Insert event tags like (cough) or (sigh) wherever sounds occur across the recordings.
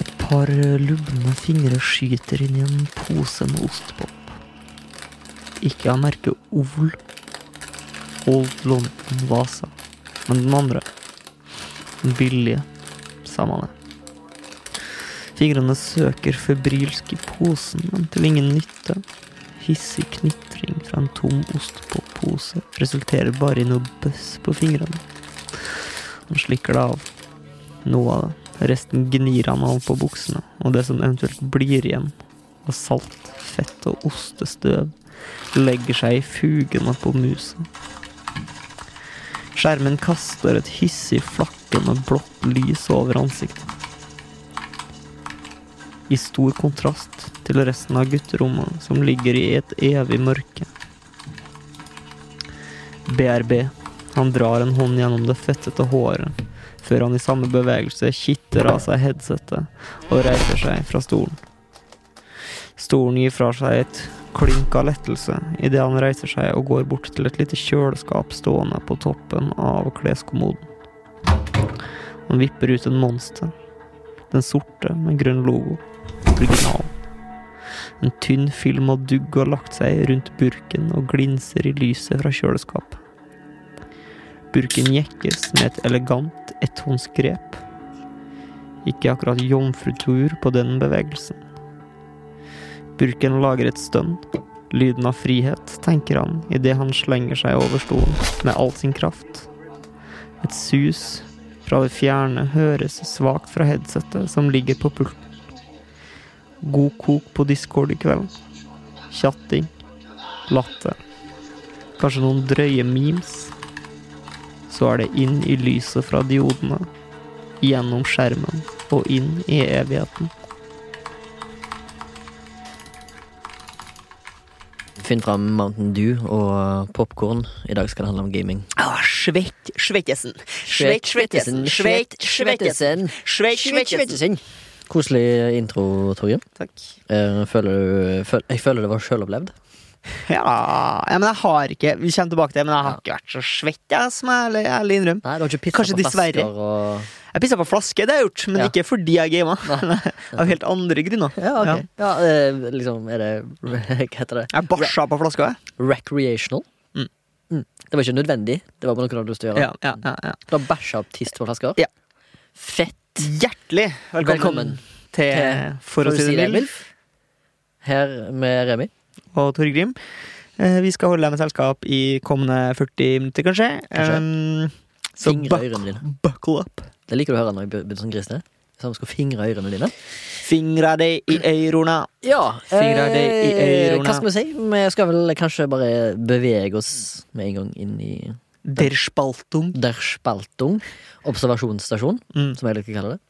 Et par lubne fingre skyter inn i en pose med ostepop. Ikke av merket Ovl. Old London Vasa. Men den andre. Den billige. Samme det. Fingrene søker febrilsk i posen, men til ingen nytte. Hissig knitring fra en tom ostepop-pose resulterer bare i noe bøss på fingrene. Han slikker det av. Noe av det. Resten gnir han av på buksene, og det som eventuelt blir igjen av salt, fett og ostestøv, legger seg i fugene på musa. Skjermen kaster et hissig flakkende blått lys over ansiktet. I stor kontrast til resten av gutterommet, som ligger i et evig mørke. BRB. Han drar en hånd gjennom det fettete håret før han i samme bevegelse kitter av seg headsetet og reiser seg fra stolen. Stolen gir fra seg et klynk av lettelse idet han reiser seg og går bort til et lite kjøleskap stående på toppen av kleskommoden. Han vipper ut en monster. Den sorte med grønn logo. Originalen. En tynn film av dugg har lagt seg rundt burken og glinser i lyset fra kjøleskapet. Burken jekkes med et elegant etthåndsgrep. Ikke akkurat jomfrutur på den bevegelsen. Burken lager et stønn. Lyden av frihet, tenker han idet han slenger seg over stolen med all sin kraft. Et sus fra det fjerne høres svakt fra headsetet som ligger på pulten. God kok på Discord i kveld. Tjatting. Latter. Kanskje noen drøye memes så er det inn i lyset fra diodene, gjennom skjermen og inn i evigheten. Finn fram Mountain Dew og popkorn. I dag skal det handle om gaming. Åh, svett, svettesen. Svett, svettesen. Svett, svettesen. Svett, svettesen. Koselig intro, Torje. Takk. Eh, Føler du, føl, jeg føler det var sjølopplevd. Ja, ja, men jeg har ikke Vi kommer tilbake til det, men jeg har ikke vært så svett, jeg, som jeg ærlig- ærlig innrømmer. Nei, du har ikke pizza Kanskje på dessverre. flasker og Jeg pissa på flaske, det har jeg gjort, men Ja. ikke fordi jeg gama. (laughs) Av helt andre grunner. Ja, ok. Ja. Ja, eh, liksom, er det (laughs) Hva heter det? Jeg bæsja på flaska, jeg. Recreational? Mm. Mm. Det var ikke nødvendig. Det var bare noe du hadde lyst til å gjøre. Ja, ja, ja, ja. Du har bæsja opp tiss på flasker? Ja. Fett. Hjertelig velkommen, Velkommen til til For å si det mildt Her med Remi. og Torgrim. Eh, Vi skal holde deg med selskap i kommende 40 minutter, kanskje. Kanskje. Um, så Fingre buck- ørene dine. buckle up. Det liker du å høre når jeg begynner som grisene. Så han skal fingre ørene dine. Fingra deg i øyrona. Ja. Fingre deg i eh, ørene. Hva skal vi si? Vi skal vel kanskje bare bevege oss med en gang inn i Der spaltum. Der Spaltung. Observasjonsstasjon, Mm. som jeg liker å kalle det.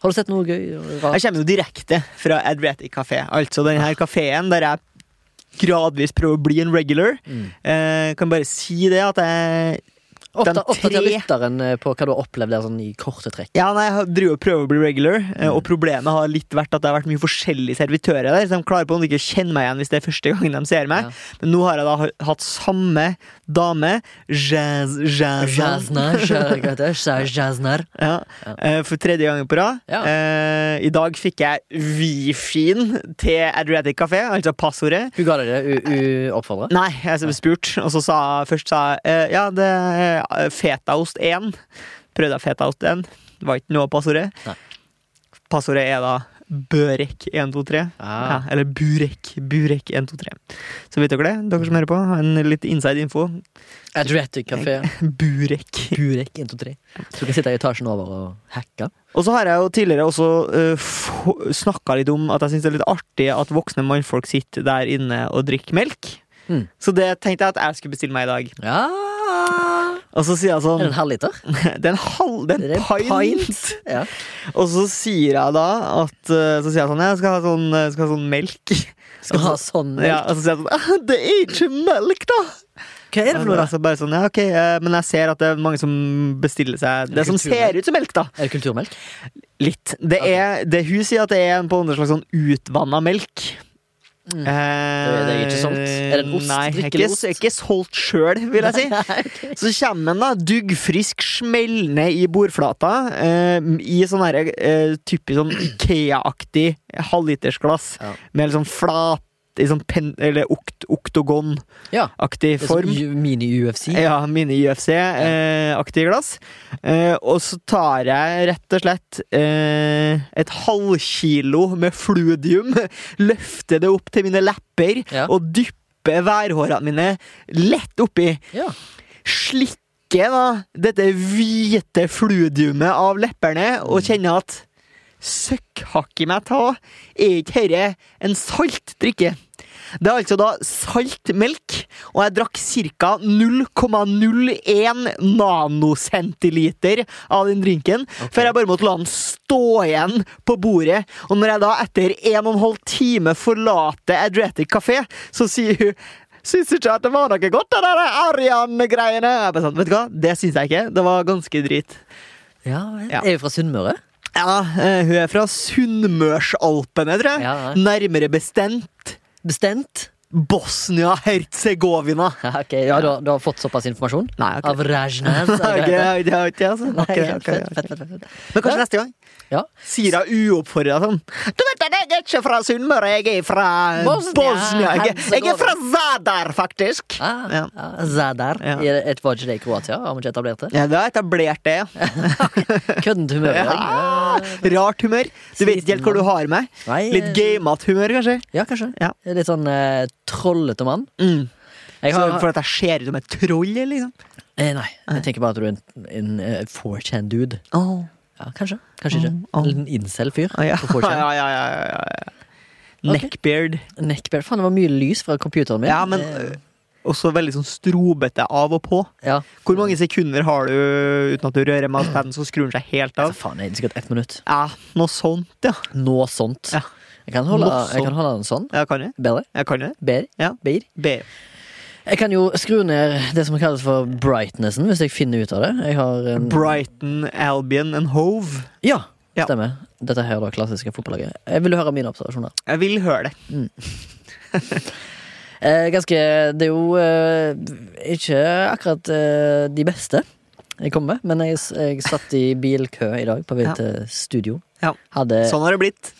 Har du sett noe gøy? og Rart? Jeg kommer jo direkte fra Adriatic Café. Altså denne her kafeen der jeg gradvis prøver å bli en regular. Mm. Eh, kan bare si det at jeg Oppda- den Oppdater tre- lytteren eh, på hva du har opplevd der sånn i korte trekk. Ja, nei, jeg driver og prøver å bli regular, eh, Mm. og problemet har litt vært at det har vært mye forskjellige servitører der, så de klarer på en måte ikke å kjenne meg igjen hvis det er første gangen de ser meg. Ja. Men nå har jeg da ha- hatt samme dame, Jazz, Jazz, Jaznar, hva heter det? Sa Jaznar. Ja, Ja. eh, For tredje gangen på rad. Ja. Eh, I dag fikk jeg Wi-Fi-en til Adriatic Café, altså passordet. Hun ga deg det u- uoppfordra? Nei, jeg ble spurt, og så sa først sa jeg, eh, Ja, det er eh, fetaost 1. Prøvde jeg fetaost 1. Det var ikke noe av passordet. Nei. Passordet er da Børek 123. Ja, Ah. eller Burek. Burek 123. Så vet dere det, dere som hører på. En litt inside info. Adriatic Café. Burek. Burek 123. Så du kan sitte i etasjen over og hacke. Og så har jeg jo tidligere også uh, snakka litt om at jeg syns det er litt artig at voksne mannfolk sitter der inne og drikker melk. Mm. Så det tenkte jeg at jeg skulle bestille meg i dag. Ja. Og så sier jeg Er det sånn en halvliter? (laughs) Det er en halv Det Er er det en pint! Ja. Og så sier jeg da at eh, Så sier jeg sånn Jeg skal ha sånn, jeg skal ha sånn melk. Skal du ha sånn Ja, og så sier jeg sånn «Ah, Det er ikke melk, da! Hva er det for noe, da? Altså, bare sånn, ja, ok, eh, Men jeg ser at det er mange som bestiller seg det som Kulturmelk. ser ut som melk, da. Er det (laughs) kulturmelk? Litt. Det Ok. er, det hun sier at det er en på en slags sånn utvanna melk. Mm. Eh, Det er ikke solgt. Er det en ost? Nei, jeg er ikke, Drikkeost? jeg er ikke solgt sjøl, vil jeg si. Ok. Så kommer den da, duggfrisk, smellende i bordflata, eh, i sånn her eh, typisk sånn Ikea-aktig halvlitersglass, Ja. med litt sånn flat, i sånn pen, eller okt, oktogon-aktig Ja. sånn Det er sånn form. U- Mini-UFC. Ja, mini-UFC-aktig glass. Eh, og så tar jeg rett og slett eh, et halvkilo med fluidium, (laughs) løfter det opp til mine lepper Ja. og dypper værhårene mine lett oppi. Ja. Slikker da dette hvite fluidiumet av leppene og kjenner at Søkkhakk i meg ta, er ikke dette en salt drikke? Det er altså da salt melk, og jeg drakk ca. 0,01 nanocentiliter av den drinken, før jeg bare måtte la den stå igjen på bordet. Og når jeg da etter en og en halv time forlater Adriatic Café, så sier hun Syns du ikke at det var noe godt, det der Arian-greiene? Jeg bare sånn, Vet du hva, det syns jeg ikke. Det var ganske drit. Ja, vel. Ja. Er jo fra Sunnmøre. Ja, eh, hun er fra Sunnmørsalpene, tror jeg. Ja, ja. Nærmere bestemt Bestemt. Bosnia-Hercegovina. Ja, ok. ja du, har, du har fått såpass informasjon? Nei, ok. Av (laughs) (laughs) Rajnaz? Nei, ok, det har ikke jeg, altså. Nei, Ok, ok, fett, ok. fett, fett, fett. Men kanskje neste gang? Ja. Sier jeg uoppfordra sånn. Du vet at jeg er ikke fra Sunnmøre, jeg er fra Bosnia, Bosnia. Jeg, er- jeg er fra Zadar, faktisk. Ah, Ja. ah, Zadar. Ja. I et var ikke det i Kroatia? Har vi ikke etablert (laughs) det? Ja, det har jeg etablert det. ja. Køddent humør. i dag. Ja. Rart humør. Du vet ikke helt hvor du har meg. Nei, Litt gamete humør, kanskje. Ja, kanskje. Ja. Litt sånn eh, trollete mann. Mm. Jeg Så har, for at jeg ser ut som et troll, liksom. eh, nei, jeg tenker bare at du er en, en eh, 4chan-dude. Åh. Ja, kanskje. Kanskje ikke. Åh, åh. En incel-fyr Å, Ah, ja. på (laughs) 4chan. Ja, ja, ja, ja, ja, ja. Ok. Neckbeard. Neckbeard. Faen, det var mye lys fra computeren min. Ja, men Eh, ø, også veldig sånn strobete av og på. ja. Hvor mange sekunder har du uten at du rører mousepeden, så skrur den seg helt Altså, av? faen, det er sikkert ett minutt. Ja, noe sånt, ja. Noe sånt. Ja. Jeg, kan holde, Noe sånt. jeg kan holde den sånn. Jeg kan det. Bedre. Jeg kan det. Bedre. Ja. Bedre. Be. Jeg kan jo skru ned det som kalles for brightnessen, hvis jeg finner ut av det. Jeg har en Brighton, Albion and Hove. Ja, Ja. stemmer. Dette her er det klassiske fotballaget. Eh, Vil du høre mine observasjoner? Jeg vil høre det. Eh, ganske Det er jo eh, ikke akkurat eh, de beste jeg kommer med, men jeg, s- jeg satt i bilkø i dag på vei Ja. til studio. Ja. Hadde, Sånn har det blitt.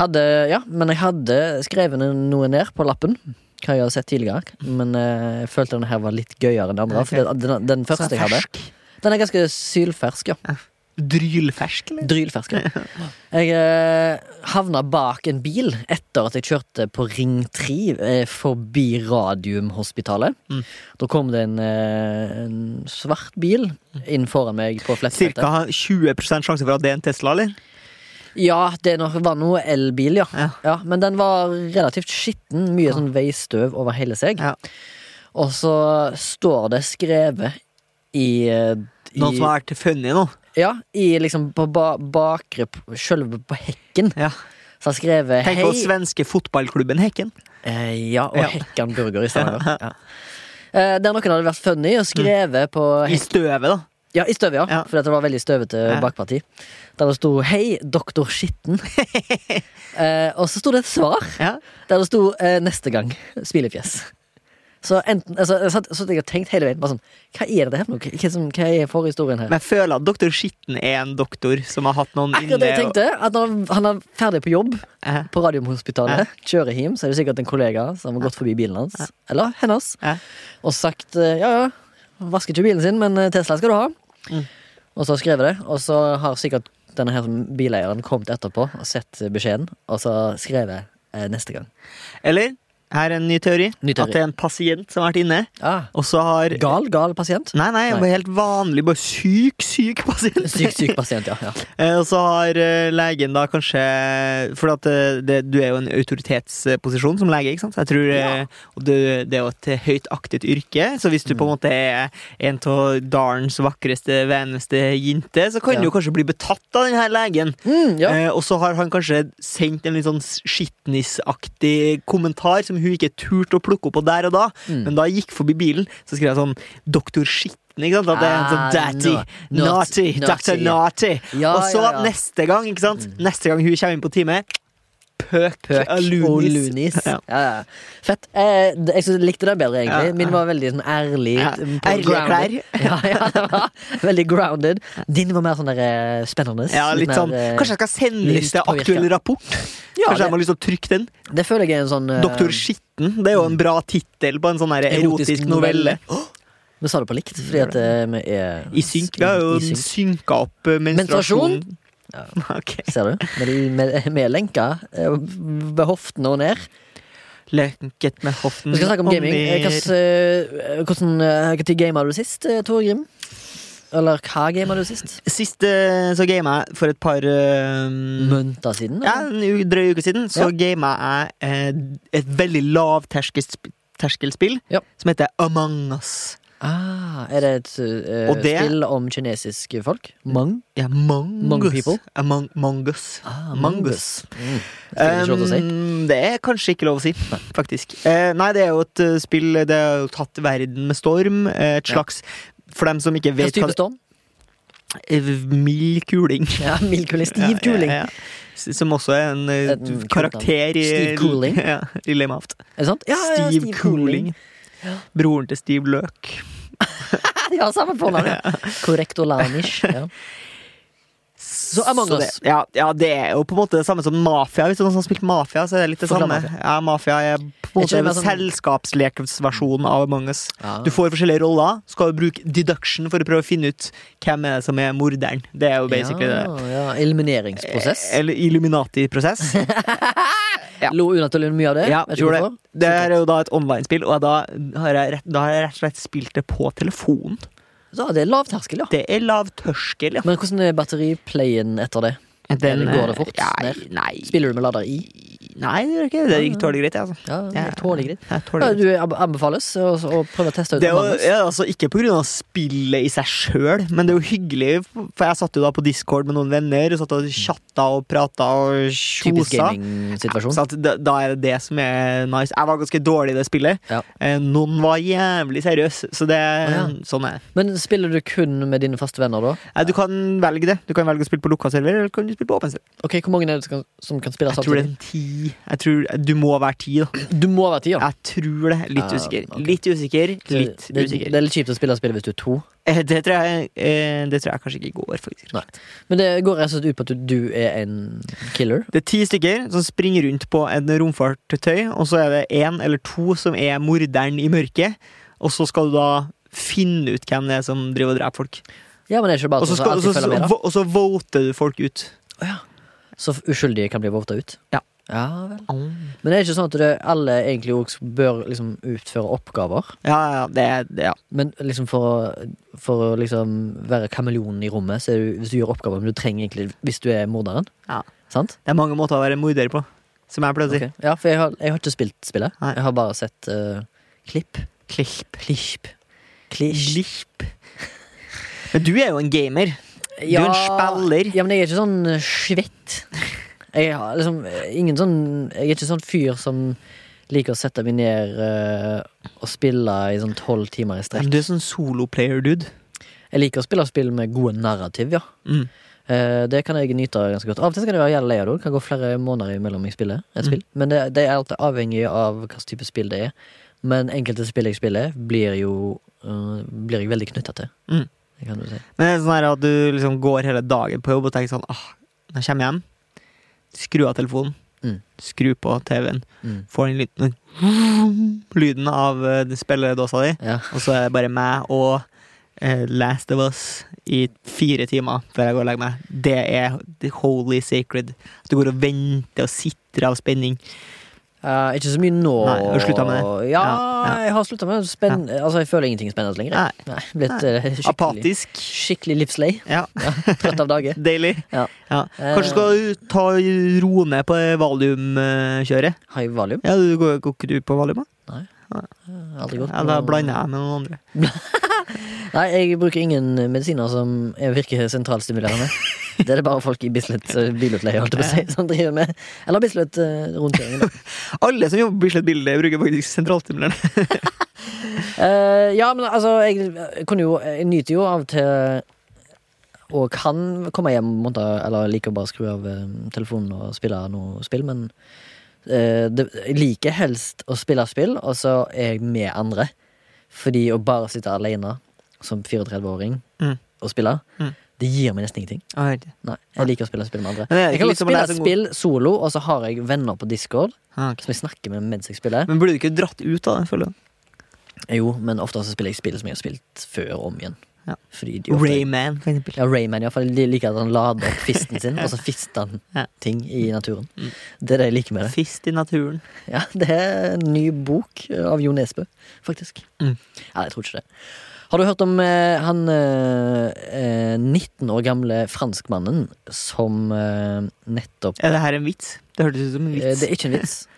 hadde Ja, men jeg hadde skrevet ned noe ned på lappen. Hva jeg hadde sett tidligere. Men eh, jeg følte denne her var litt gøyere enn de andre. Ok. For den, den, den Så første jeg hadde, fersk. den er ganske sylfersk, ja. Drylfersk, eller? Drylfersk. (laughs) ja. Jeg eh, havna bak en bil etter at jeg kjørte på Ring 3 eh, forbi Radiumhospitalet. Mm. Da kom det en, eh, en svart bil inn foran meg på flettfeltet. Cirka 20 sjanse for at det er en Tesla, eller? Ja, det nok var noe elbil, ja. Ja. ja. Men den var relativt skitten. Mye sånn veistøv over hele seg. Ja. Og så står det skrevet i, eh, i Noen som har vært funny nå? Ja, i liksom på ba bakre Sjølve på hekken. Ja. Så har jeg skrevet Tenk på hei. svenske fotballklubben Hekken. Eh, ja, og Ja. Hekkan Burger i Stavanger. (laughs) Ja. Eh, der noen hadde vært funny og skrevet på I støvet, da. Ja, i støvet, ja. Mm. Ja. For dette var veldig støvete Ja. bakparti. Der det sto 'Hei, doktor (laughs) Skitten'. eh, og så sto det et svar Ja. der det sto eh, 'Neste gang'. Smilefjes. Så enten, altså, jeg satt, satt jeg og tenkte hele veien bare sånn, Hva er det her for noe? Hva, som, hva er forhistorien her? Men jeg føler at doktor Skitten er en doktor som har hatt noen Eh, Akkurat det jeg og- tenkte. At når han- han er ferdig på jobb Ja. på Radiumhospitalet, kjører hjem, så er det sikkert en kollega som har gått forbi bilen hans, eller hennes, Ja. og sagt eh, ja, ja, han vasker ikke bilen sin, men eh, Tesla skal du ha. Og så har jeg skrevet det, og så har sikkert denne her som bileieren kommet etterpå og sett eh, beskjeden, og så skrevet eh, neste gang. Eller Her er en ny teori. Ny At det teori. er en pasient som har vært inne, Ah, og så har gal, gal pasient? Nei, nei, Nei. bare helt vanlig, bare syk, syk pasient. (laughs) Syk, syk pasient, ja. ja. (laughs) Eh, Og så har eh, legen da kanskje For at eh, det, du er jo en autoritetsposisjon som lege, ikke sant? Så Jeg tror, eh, og det, det er jo et høyt aktet yrke, så hvis du på en Mm. måte er en av dalens vakreste, veneste jente, så kan Ja. du jo kanskje bli betatt av denne legen. Mm, ja. Eh, og så har han kanskje sendt en litt sånn skitnisaktig kommentar som hun ikke turte å plukke opp på der og da, Mm. men da jeg gikk forbi bilen, så skrev jeg sånn 'Doktor Skitten'. Ikke sant? At det er en sånn Ah, Daddy, no- naughty, naughty, Dr. ja. Naughty. Ja, og så ja, ja. neste gang, ikke sant? Neste gang hun kommer inn på time Pøk, Pøk og og lunis. lunis. Ja. Ja. Ja, ja. Fett. Eh, d- jeg synes jeg likte den bedre, egentlig. Ja, Min var veldig sånn ærlig. Ja, mm, på- Ærlige grounded. (laughs) klær. Ja, ja, det var veldig grounded. Din var mer sånn der eh, spennende. Ja, litt sånn mer, eh, Kanskje jeg skal sende inn lyst til på virke. aktuell rapport? ja, Kanskje jeg det, må lyst til å trykke den? det føler jeg er en sånn eh, Doktor Skitten. Det er jo en bra tittel på en sånn her Erotisk erotisk novelle. Vi sa det på likt, fordi at eh, vi er I synk. Vi i har jo synk, synka opp eh, menstruasjon. Ja. (laughs) Ok. Ser du? Med, de- med, med lenka eh, ved hoftene og ned. Lenket med hoften Vi skal snakke om og gaming. Eh, ned. hvilken, eh, Hvordan eh, hvilken tid gamet du sist, eh, Tore Grim? Eller hva gamet du sist? Sist eh, så gama jeg for et par eh, Måneder siden? Ja, eller? en u- drøy uke siden så Ja. gama jeg eh, et veldig lavterskelspill Ja. som heter Among Us. Ah, er det et eh, Og det- spill om kinesiske folk? Mang? Ja, Among Among Us. people? Among, Among Us. Ah, Mangus. Mm. Det er ikke lov til å si. Um, det er kanskje ikke lov å si, faktisk. Eh, nei, det er jo et eh, spill Det har jo tatt verden med storm. eh, Et Ja. slags For dem som ikke Hvilken vet hva type storm? eh, Mild kuling. Ja, mild kuling. Stiv kuling. Ja, ja, ja. S- Som også er en eh, En kul karakter i Steve Cooling. (laughs) Ja, i Lame Aft. Er det sant? Ja, ja, Steve, Cooling. Broren til Steve Løk. (laughs) Ja, de har samme fornavn. (laughs) ja. Korrekt og lanish. Ja. Så Among det- Us. Ja, ja, det er jo på en måte det samme som mafia. Hvis det er noen som har spilt mafia, så er det litt det Forklar samme. Mafia. Ja, mafia er på en Jeg måte kjenner meg en som- selskapslekeversjon av Among Us. Ah. (laughs) Du får forskjellige roller, skal jo bruke deduction for å prøve å finne ut hvem er det som er morderen. Det er jo basically ja, det. ja. Elimineringsprosess. Eller (laughs) Illuminati-prosess. ja. Lo unaturlig mye av det. Ja, Vet ikke tror det. hvorfor. det her er jo da et online-spill, og da har, jeg rett, da har jeg rett og slett spilt det på telefonen. Så det er lav terskel, ja. Det er lav tørskel, ja. Men hvordan er batteriplayen etter det? Eller går det fort eh, Nei, ned? nei, Spiller du med lader i? nei det gjør ikke det. Det gikk tålelig greit, jeg, altså. Ja, Ja, jeg tåler greit. Jeg tåler Ja, greit. du ab- anbefales å, å prøve å teste ut Det er jo Among Us. ja, altså ikke på grunn av spillet i seg sjøl, men det er jo hyggelig, for jeg satt jo da på Discord med noen venner og satt og chatta og prata og Typisk tjosa. gaming-situasjon. Så at da, da er det det som er nice. Jeg var ganske dårlig i det spillet. Ja. Eh, Noen var jævlig seriøse, så det ja. sånn er det. Men spiller du kun med dine faste venner, da? Eh, Du kan velge det. Du kan velge å spille på lukka server, eller kan du spille på åpen server. Ok, Hvor mange er det som kan, som kan spille Jeg tror det samtidig? er ti. Jeg tror, du må være ti, da. Du må være ti, ja. Jeg tror det. Litt Ja, usikker. ok. Litt usikker, Så litt det, usikker. det er litt kjipt å spille spillet hvis du er to. Eh, Det tror jeg, eh, det tror jeg kanskje ikke går, faktisk. Nei. Men det går rett og slett ut på at du, du er en killer. Det er ti stykker som springer rundt på en romfartøy, og så er det én eller to som er morderen i mørket. Og så skal du da finne ut hvem det er som driver og dreper folk. Ja, men det er ikke bare Og så, sånn som skal, og, så, alltid følger med, da. vo- og så voter du folk ut. Så uskyldige kan bli vovta ut. Ja. vel. Men det er ikke sånn at det, alle egentlig også bør liksom utføre oppgaver. Ja, ja, det, det, ja. Men liksom for, å- for å liksom være kameleonen i rommet, så er du, hvis du gjør oppgaver, men du trenger egentlig Hvis du er morderen. Ja. Sant? det er mange måter å være morder på, som jeg pleier å si. Ok. Ja, for jeg har, jeg har ikke spilt spillet. Nei. Jeg har bare sett eh, klipp. Klipp. Klisp. Klisp. Klipp. Men du er jo en gamer. Du er en spiller. Ja, men jeg er ikke sånn eh, svett. Jeg har liksom eh, ingen sånn Jeg er ikke sånn fyr som liker å sette meg ned eh, og spille i sånn tolv timer i Men strekk. du er sånn soloplayer-dude. Jeg liker å spille spill med gode narrativ, ja. Mm. Eh, det kan jeg nyte av ganske godt. Av og til kan jeg være jævla lei av det. Det kan gå flere måneder imellom jeg spiller Mm. et spill. Men det, det er alltid avhengig av hva slags type spill det er. Men enkelte spill jeg spiller, blir jo eh, Blir jeg veldig knytta til. Mm. Det kan du si. Men det er sånn her at du liksom går hele dagen på jobb og tenker sånn ah, Når jeg kommer hjem, skru av telefonen, Mm. skru på TV-en, Mm. får den lyden (laughs) Lyden av eh, den spilledåsa di, Ja. og så er det bare meg og eh, Last of Us i fire timer før jeg går og legger meg. Det er the holy sacred. At du går og venter og sitrer av spenning. Eh, ikke så mye nå. Nei, har du sluttet med det? Ja, Ja, jeg har slutta med det. Spenn... Altså, jeg føler ingenting spennende lenger. jeg. Nei, blitt eh, skikkelig, Ah, Apatisk. skikkelig livslei. Ja, Trøtt av dage. deilig. (laughs) Ja. Ja. Kanskje Eh. skal du ta ro ned på valiumkjøret? High valium. Ja, du går, går ikke du på valium? da? Eh, Aldri godt. Ja, da blander jeg med noen andre. Nei, jeg bruker ingen medisiner som er- virker (laughs) sentralstimulerende. Det er det bare folk i Bislett eh, bilutleie holdt jeg på å si, som driver med. Eller Bislett eh, rundkjøringen. (laughs) da. Alle som jobber på Bislett Bilde, bruker faktisk sentralstimulerende. (laughs) Eh, ja, men altså, jeg kunne jo Jeg nyter jo av og til og kan komme hjem og måtte, eller liker å bare skru av eh, telefonen og spille noe spill, men eh, det, jeg liker helst å spille spill, og så er jeg med andre. Fordi å bare sitte alene som 34-åring Mm. og spille, Mm. det gir meg nesten ingenting. Nei, Nei. Jeg liker å spille spill med andre. Men det er Jeg ikke kan litt godt som å spille et lese en god- spill solo, og så har jeg venner på Discord Ah, ok. som jeg snakker med mens jeg spiller. Men burde du ikke dratt ut av det, føler du? Jo, men ofte så spiller jeg spill som jeg har spilt før og om igjen. Ja. Fordi de ofte- Rayman, for eksempel. Ja, Rayman, iallfall. De liker at han lader opp fisten (laughs) sin, og så fister han Ja. ting i naturen. Mm. Det er det jeg liker med det. Fist i naturen. Ja, Det er en ny bok av Jo Nesbø, faktisk. Mm. Ja, jeg tror ikke det. Har du hørt om eh, han eh, eh, 19 år gamle franskmannen som eh, nettopp Er det her en vits? Det hørtes ut som en Eh, vits. Det er ikke en vits. (laughs)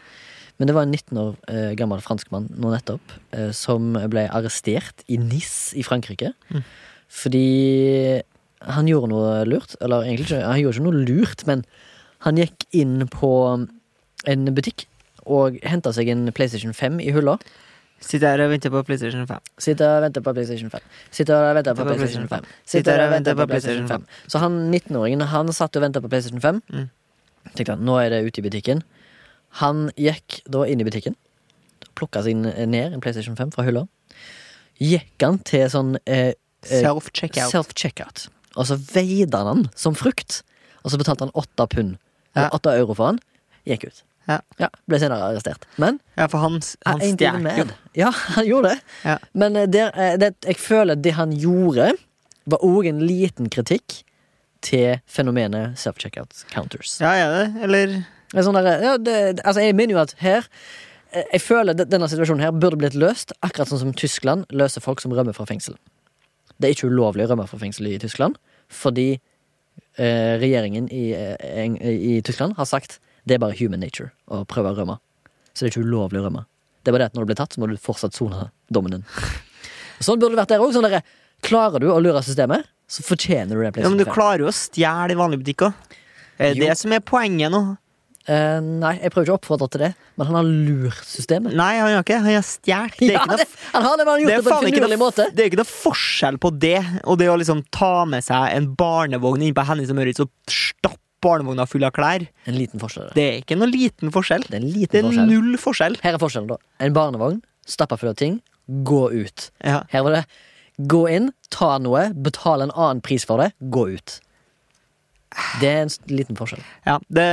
Men det var en 19 år eh, gammel franskmann nå nettopp eh, som ble arrestert i Nice i Frankrike. Mm. Fordi han gjorde noe lurt. Eller egentlig ikke, han gjorde ikke noe lurt, men han gikk inn på en butikk og henta seg en PlayStation 5 i hylla. Sitter her og venter på PlayStation 5. Sitter og venter på PlayStation 5. Sitter og venter på PlayStation 5. Sitter og venter på PlayStation 5. Så han 19-åringen han satt og venta på PlayStation 5. Mm. Tenkte han, nå er det ute i butikken. Han gikk da inn i butikken, plukka seg ned en PlayStation 5 fra hylla. Gikk han til sånn eh, Eh, Self-checkout. self-checkout, og så veide han han som frukt. Og så betalte han åtte pund, Ja. eller åtte euro for han. Gikk ut. Ja. ble senere arrestert. Men Ja, for han, han ja, en time stjal jo. med. Ja, (laughs) han gjorde det. Ja. Men eh, der, eh, det, jeg føler det han gjorde, var òg en liten kritikk til fenomenet self-checkout counters. Ja, er det? Eller Det er Sånn der, eh, ja, det, det- altså jeg mener jo at her eh, Jeg føler de- denne situasjonen her burde blitt løst akkurat sånn som Tyskland løser folk som rømmer fra fengsel. Det er ikke ulovlig å rømme fra fengsel i Tyskland, fordi eh, regjeringen i, eh, Eng- i Tyskland har sagt det er bare human nature å prøve å rømme. Så det er ikke ulovlig å rømme. Det er bare det at når du blir tatt, så må du fortsatt sone dommen din. Sånn burde det vært der òg. Sånn derre, klarer du å lure systemet, så fortjener du det. Ja, men du PlayStation 5. klarer jo å stjele i vanlige butikker. Eh, Det er Jo. det som er poenget nå. Eh, nei, jeg prøver ikke å oppfordre til det, men han har lurt systemet. Nei, han har ikke. Han har stjålet. Det er Ja, ikke noe det, han har det, men han har det gjort det er på faen en ikke finurlig noe, måte. det er ikke noe forskjell på det og det å liksom ta med seg en barnevogn inn på Hennes og Møritz og stappe barnevogna full av klær. En liten forskjell. Det, Det er ikke noe liten forskjell. det er en Det liten er forskjell. null forskjell. Her er forskjellen, da. En barnevogn, stappa full av ting, gå ut. Ja. Her var det gå inn, ta noe, betale en annen pris for det, gå ut. Det er en s- liten forskjell. Ja, det,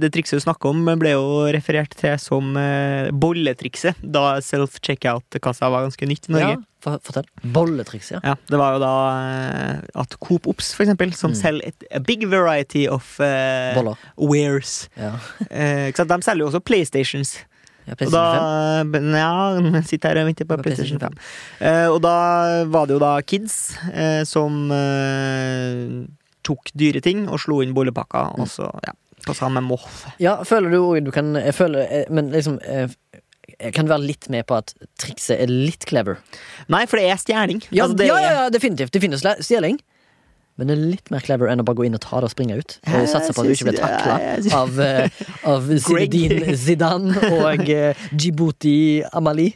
det trikset du snakker om, ble jo referert til som eh, bolletrikset da self-checkout-kassa var ganske nytt i Norge. Ja, for, fortell. Bolletriks, ja. Ja, det var jo da eh, at Coop Ops, for eksempel, som Mm. selger et, a big variety of eh, Boller. wares Ja. eh, ikke sant? De selger jo også PlayStations. Ja, Og PlayStation da, ja, men sitter her og venter på På PlayStation PlayStation 5. Eh, og da var det jo da kids eh, som eh, tok dyre ting og slo inn bollepakker, Mm. og så, ja, på samme måte. 5. Ja, føler du òg du kan jeg føler, eh, Men liksom eh, Jeg kan være litt med på at trikset er litt clever. Nei, for det er stjeling. Ja, Altså, det ja, er- ja, ja, definitivt. Det finnes le- stjeling. Men det er litt mer clever enn å bare gå inn og ta det og springe ut. Ja, Og satse på at du jeg ikke blir synes- ja, takla jeg synes- av, eh, av (laughs) Greg. Zinedine Zidane og eh, Djibouti Amali.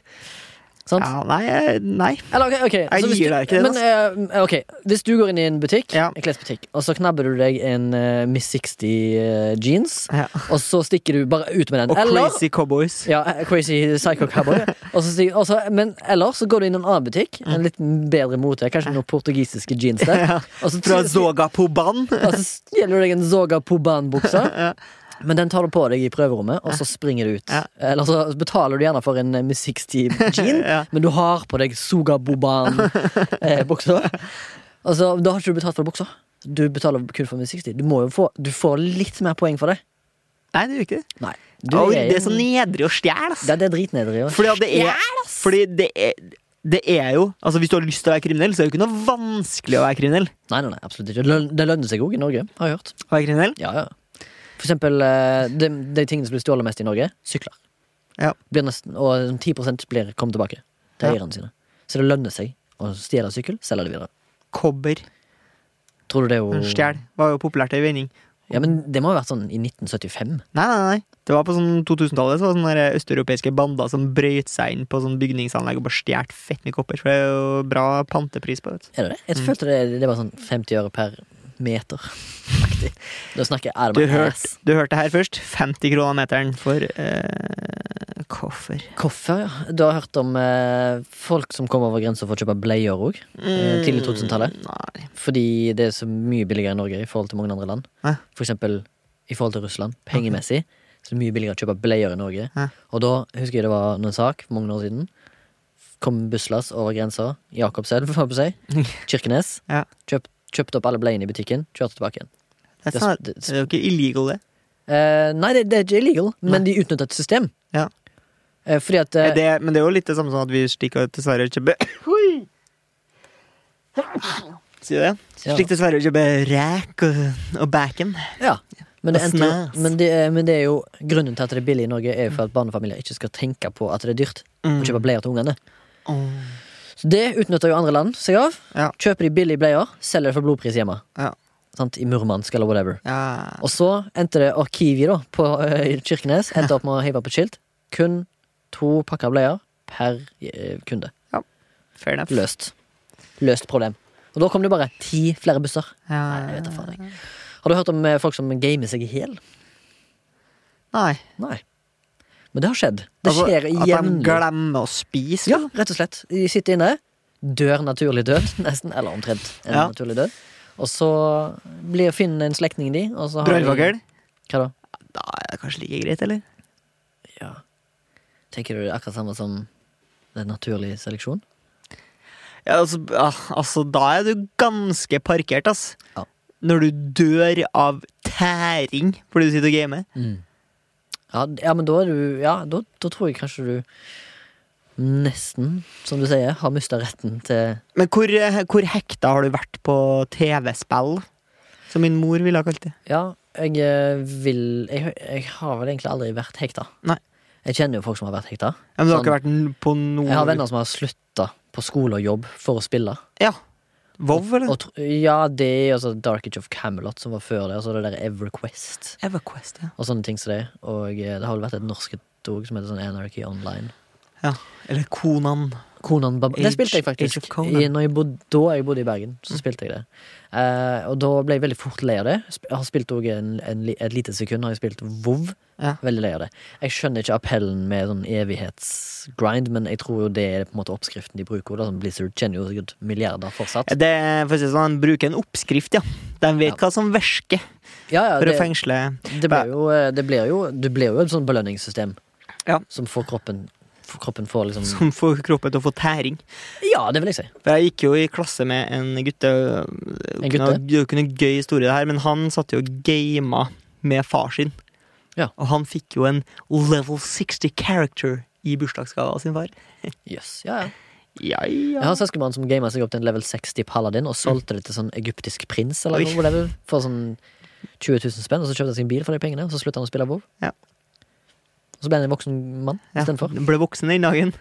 Sant? Ja, nei, eh, nei. Eller, ok, ok, altså, hvis gir du- deg ikke det, altså? Men, eh, ok, hvis du går inn i en butikk, Ja. en klesbutikk, og så knabber du deg en eh, Miss 60 eh, jeans, Ja. og så stikker du bare ut med den. Og Eller Crazy Cowboys. ja, eh, crazy psycho (laughs) cowboy. Og så sier- og så- men ellers så går du inn i en annen butikk, en litt bedre mote, kanskje noen portugisiske jeans (laughs) der. Og så, Fra Zoga Poban. (laughs) og så stjeler du deg en Zoga (laughs) Poban-bukse, men den tar du på deg i prøverommet, og så springer du ut. Ja. Eller så betaler du gjerne for en eh, Miss (laughs) 60 jean, Ja. men du har på deg Soga (laughs) Boban-buksa. Og så, Altså, da har ikke du betalt for buksa. Du betaler kun for Miss 60. Du, må jo få, du får litt mer poeng for det. Nei, det gjør ikke det. Nei. Du, Au, jeg- det er sånn- så nedrig å stjele, ass. Ja, det er dritnedrig. Ja. Fordi, at det er, fordi det, er, det er jo Altså Hvis du har lyst til å være kriminell, så er det jo ikke noe vanskelig å være kriminell. Nei, nei, nei, absolutt ikke. Det løn- Det lønner seg òg i Norge, har jeg hørt. Å være kriminell Ja, ja. For eksempel eh, de, de tingene som blir stjålet mest i Norge, sykler. Ja. Blir nesten, og 10 blir kommet tilbake til Ja. eierne sine. Så det lønner seg å stjele sykkel, selge det videre. Kobber. Tror du det er jo Stjel var jo populært i vending. Ja, men Det må ha vært sånn i 1975. Nei, nei, nei. Det var på sånn 2000-tallet så var det sånne der østeuropeiske bander som brøyt seg inn på sånn bygningsanlegg og bare stjal fett mye kopper. For det er jo bra pantepris på det. Er det det? Jeg følte det, det var sånn 50 øre per meter. (laughs) Aktig. Da snakker jeg out of Du my hørte, ass. du hørte her først. 50 kroner meteren for eh, koffer. Hvorfor, ja? Du har hørt om eh, folk som kom over grensa for å kjøpe bleier òg? Eh, tidlig 2000-tallet? Mm, Nei. Fordi det er så mye billigere i Norge i forhold til mange andre land. Hæ? For eksempel i forhold til Russland, pengemessig. Så er det mye billigere å kjøpe bleier i Norge. Hæ? Og da husker jeg det var en sak for mange år siden. Kom busslass over grensa. Jakobselv, hva på å (laughs) si. Kirkenes. Ja. Kjøp, kjøpte opp alle bleiene i butikken, kjørte tilbake igjen. Det er, Det- sånn, det- det er jo ikke illegal, det. Eh, nei, det, det er ikke illegal, men de utnytter et system. Ja. Eh, fordi at eh, Er det. Men det er jo litt det samme som at vi stikker til Sverige og kjøper (laughs) Oi! Sier du det? Ja. Stikk til Sverige og kjøper ræk og, og bacon. Ja, men det, Og endte, snas. jo- men, det, er- men det er jo grunnen til at det er billig i Norge, er jo for at barnefamilier ikke skal tenke på at det er dyrt Mm. å kjøpe bleier til ungene. Åh. Så det utnytter jo andre land seg av. Ja. Kjøper de billige bleier, selger det for blodpris hjemme. Ja. Sant? I Murmansk eller whatever. Ja. Og så endte det, og Kiwi da, på eh, i Kirkenes, endte opp med å hive på et skilt. Kun to pakker bleier per eh, kunde. Fair enough. Løst. Løst problem. Og da kom det bare ti flere busser. Ja, Nei, jeg vet da faen, jeg. Har du hørt om eh, folk som gamer seg i hjel? Nei. Nei. Men det har skjedd. Det Altså, skjer At de jevnlig. glemmer å spise. Ja, rett og slett. De sitter inne, dør naturlig død, (laughs) nesten, eller omtrent en Ja. naturlig død. Og så blir finner en slektning de, og så har de- Brannfakkel? Hva da? Da er det kanskje like greit, eller? Ja. Tenker du det er akkurat samme som det er naturlig seleksjon? Ja, altså, ah, altså, da er du ganske parkert, ass. Ja. Når du dør av tæring fordi du sitter og gamer. Ja, d- ja men da er du Ja, da, da tror jeg kanskje du nesten, som du sier, har mista retten til Men hvor, eh, hvor hekta har du vært på TV-spill? Som min mor ville ha kalt det. Ja, jeg eh, vil Jeg, jeg har vel egentlig aldri vært hekta. Nei. Jeg kjenner jo folk som har vært hekta. Ja, men du har Sånn. ikke vært n- på noe Jeg har venner som har slutta på skole og jobb for å spille. Ja. Vov, eller? Og tr ja, det er altså Dark Age of Camelot som var før det, og så det der Everquest EverQuest, ja. og sånne ting som det. Og eh, det har vel vært et norsk et òg som heter sånn Anarchy Online. ja. Eller Konan. Konan Bab Age- Det spilte jeg Age of faktisk. Conan. I, når jeg bod, da jeg bodde i Bergen, så spilte jeg det. Eh, og da ble jeg veldig fort lei av det. Sp- Jeg har spilt òg en, en, li- et lite sekund, har jeg spilt WoW. Ja. Veldig lei av det. Jeg skjønner ikke appellen med sånn evighetsgrind, men jeg tror jo det er på en måte oppskriften de bruker. Da. Sånn Blizzard tjener jo sikkert milliarder fortsatt. Det, er- for å si det sånn, de bruker en oppskrift, ja. De vet Ja. hva som virker Ja, ja, for å det, fengsle det, blir jo, eh, det, blir jo, det blir jo et sånn belønningssystem Ja. som får kroppen for kroppen får liksom som får kroppen til å få tæring. Ja, det vil jeg si. For jeg gikk jo i klasse med en gutte. øh, En En gutte? Det er jo ikke noe gøy historie, det her, men han satt jo og gama med far sin. Ja. Og han fikk jo en level 60 character i bursdagsgave av sin far. Yes, ja, ja. Ja, Jeg ja. har en søskenbarn som gama seg opp til en level 60 paladin og solgte det til sånn egyptisk prins eller Oi. noe whatever, for sånn 20 000 spenn, og så kjøpte han sin bil for de pengene, og så slutta han å spille WoW. Ja. Og så ble han en voksen mann Ja, istedenfor. han Ble voksen den dagen.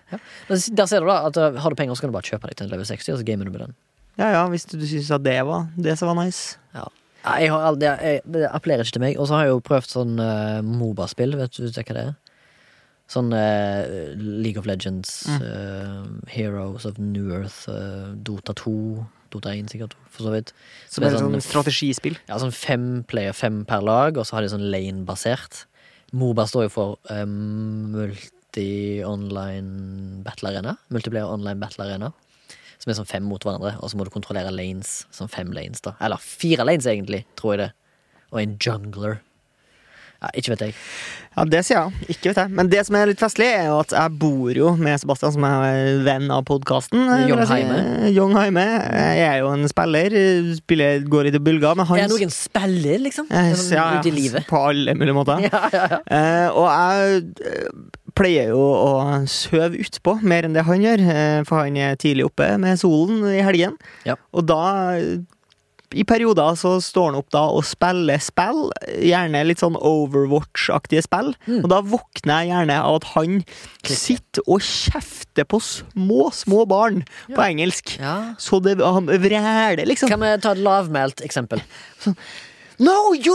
Men Der ser du da at uh, har du penger, så kan du bare kjøpe deg til en level 60, og så gamer du med den. Ja ja, hvis du, du syns at det var det som var nice. Nei, Jeg har aldri, jeg, det appellerer ikke til meg. Og så har jeg jo prøvd sånn eh, Moba-spill. Vet du vet du hva det er? Sånn eh, League of Legends, eh, Heroes of New Earth, eh, Dota 2, Dota 1 sikkert, for så vidt. Som Med er sånn sånn- strategispill. Ja, sånn fem player, fem per lag, og så har de sånn lane-basert. Moba står jo for eh, multi-online battle arena. Multiplayer online battle arena. Som er sånn fem mot hverandre, og så må du kontrollere lanes. Sånn fem lanes, da. Eller fire lanes, egentlig, tror jeg det. Og en jungler. Ja, ikke vet jeg. Ja, det sier jeg. Ikke vet jeg. Men det som er litt festlig, er jo at jeg bor jo med Sebastian, som er venn av podkasten. Young Young Heime. Jeg er jo en spiller. Spiller går i det bulga, men Er det han noen spiller, liksom? Eh, Sånn ja, ja, Ute i livet? På alle mulige måter. (laughs) Ja, ja, ja. Eh, og jeg eh, pleier jo å søve utpå mer enn det han gjør, eh, for han er tidlig oppe med solen i helgen. Ja. Og da, eh, i perioder, så står han opp da og spiller spill, gjerne litt sånn Overwatch-aktige spill. Mm. Og da våkner jeg gjerne av at han sitter og kjefter på små, små barn på engelsk. ja. Så det, han vræler, liksom. Kan vi ta et lavmælt eksempel? No, you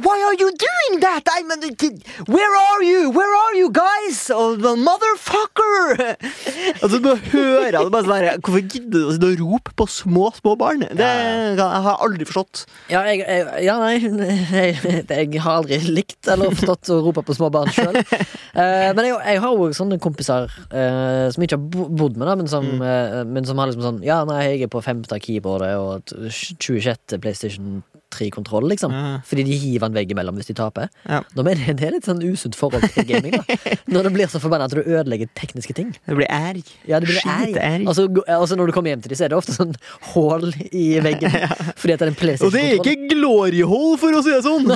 Why are you doing that? I mean, did- where are you? Where are you guys? Oh, the motherfucker! (laughs) altså, du hører det bare sånn her, Hvorfor gidder du å sitte og rope på små, små barn? Det Ja, kan- jeg har jeg aldri forstått. Ja, jeg, jeg, ja nei, (laughs) jeg, jeg har aldri likt eller forstått å rope på små barn sjøl. (laughs) men jeg, jeg har òg sånne kompiser eh, som jeg ikke har bo- bodd med, da, men, som, Mm. eh, men som har liksom sånn Ja, nei, jeg er på femte keyboardet og t- 26. PlayStation 3-kontroll, liksom. Ja. Fordi de hiver den veggimellom hvis de taper. Ja. Nå mener jeg Det er litt sånn usunt forhold til gaming. (laughs) da Når det blir så forbanna at du ødelegger tekniske ting. Det blir erg. Ja, det blir erg. Skit, erg. Og så gå- og så når du kommer hjem til dem, så er det ofte sånn (laughs) hull i (laughs) veggen. Fordi at det er en Og Altså, det er PlayStation-kontroll. ikke glory hole, for å si det sånn!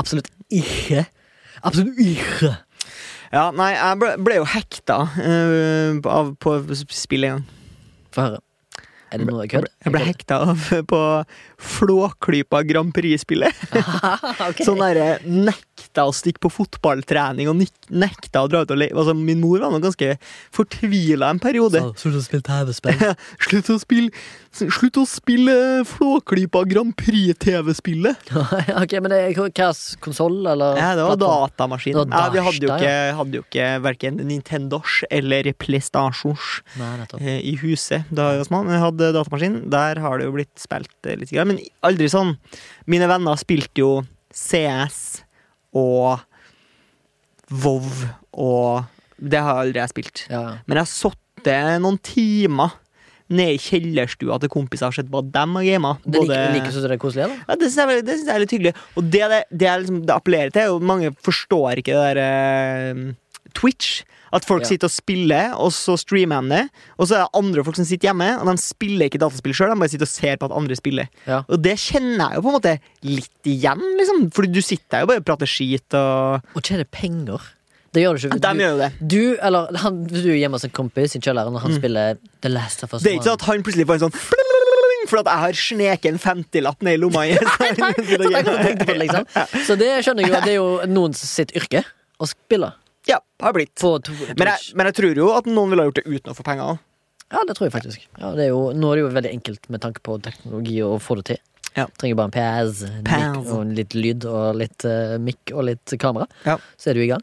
Absolutt ikke. Absolutt ikke. (laughs) ja, nei, jeg ble, ble jo hekta eh, av, på spill en gang. Få høre. Er det noe Jeg kødd? ble, jeg ble hekta av på Flåklypa Grand Prix-spillet. (laughs) Ok. Sånn derre nekta å stikke på fotballtrening og nik- nekta å dra ut og leke. Altså, min mor var nå ganske fortvila en periode. Så- Slutt å spille TV-spill. (laughs) Slutt å spille Slutt å spille eh, Flåklypa Grand Prix-TV-spillet! ok, men det er hvilken konsoll, eller? Ja, det var plattform? datamaskin. Det var Ja, vi hadde jo data, ikke, hadde jo ikke verken Nintendos eller PlayStations Nei, nettopp. eh, i huset da jeg var små. Men jeg hadde datamaskin. Der har det jo blitt spilt eh, litt, grann, men aldri sånn. Mine venner spilte jo CS og Vov og Det har aldri jeg spilt. Ja, ja. Men jeg satte noen timer nede i kjellerstua til kompiser og sett på dem og gama. Det liker, Både- liker du så det er koselig, eller? ja, det syns jeg, er veldig- det synes jeg er litt hyggelig. Og det det, det, er liksom, det appellerer til, er jo mange forstår ikke det der eh, Twitch. At folk Ja. sitter og spiller, og så streamer de det. Og så er det andre folk som sitter hjemme, og de spiller ikke dataspill sjøl. De bare sitter og ser på at andre spiller. Ja. Og det kjenner jeg jo på en måte litt igjen, liksom. Fordi du sitter der jo bare og prater skit og Og ikke er det penger. Det gjør du ikke. De Du, gjør jo det. du eller han, hvis du er hjemme hos en kompis i kjelleren, og han spiller The Last of Us Det er ikke sånn One. at han plutselig får en sånn for at jeg har sneket en 50-lapp ned i lomma. (laughs) Så i- (laughs) det er ikke noe å tenke på, liksom. (laughs) Så det skjønner jeg jo at det er jo noen sitt yrke å spille ja, har blitt. på to- Twitch. Men jeg, men jeg tror jo at noen ville ha gjort det uten å få penger. Ja, det tror jeg faktisk. Ja, det er jo, nå er det jo veldig enkelt med tanke på teknologi å få det til. Ja. Trenger bare en PAS, Pæs. og litt lyd og litt uh, mic og litt kamera, Ja. så er du i gang.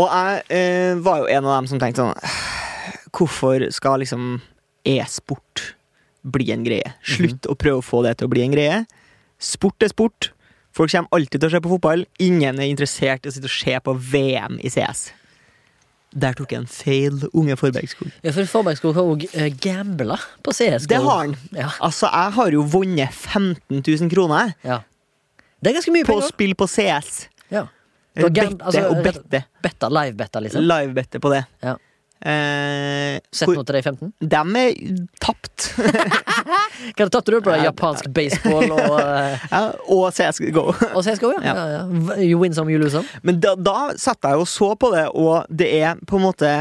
Og jeg eh, var jo en av dem som tenkte sånn Hvorfor skal liksom e-sport bli en greie? Slutt Mhm. å prøve å få det til å bli en greie. Sport er sport. Folk kommer alltid til å se på fotball. Ingen er interessert i å sitte og se på VM i CS. Der tok jeg en feil, unge Forbergskolen. Ja, for Forbergskog har òg uh, gambla på CS. Det har han. Ja. Altså, jeg har jo vunnet 15 000 kroner ja. Det er ganske mye på å penger. spill på CS. Ja. Du har Bette gam- altså, og rett- bette. Betta, live-betta, liksom. Live-bette på det. Ja. Eh, Sett hvor- noe til deg i 15? dem er (laughs) tapt. Hva tapte du på? det? Japansk baseball og, eh, Ja, og CSGO. og CSGO, ja. Ja. Ja, ja. V- You win some, you lose some. Men da, da satt jeg og så på det, og det er på en måte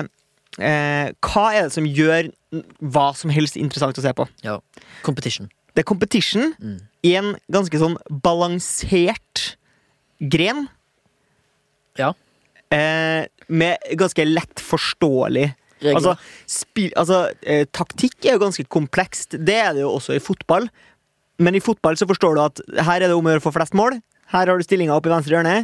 eh, Hva er det som gjør hva som helst interessant å se på? Ja. Competition. Det er competition i en ganske sånn balansert gren. Ja. Eh, med ganske lett forståelig Regler. Altså, spill, altså eh, taktikk er jo ganske komplekst. Det er det jo også i fotball. Men i fotball så forstår du at her er det om å gjøre å få flest mål. Her har du stillinga oppe i venstre hjørne.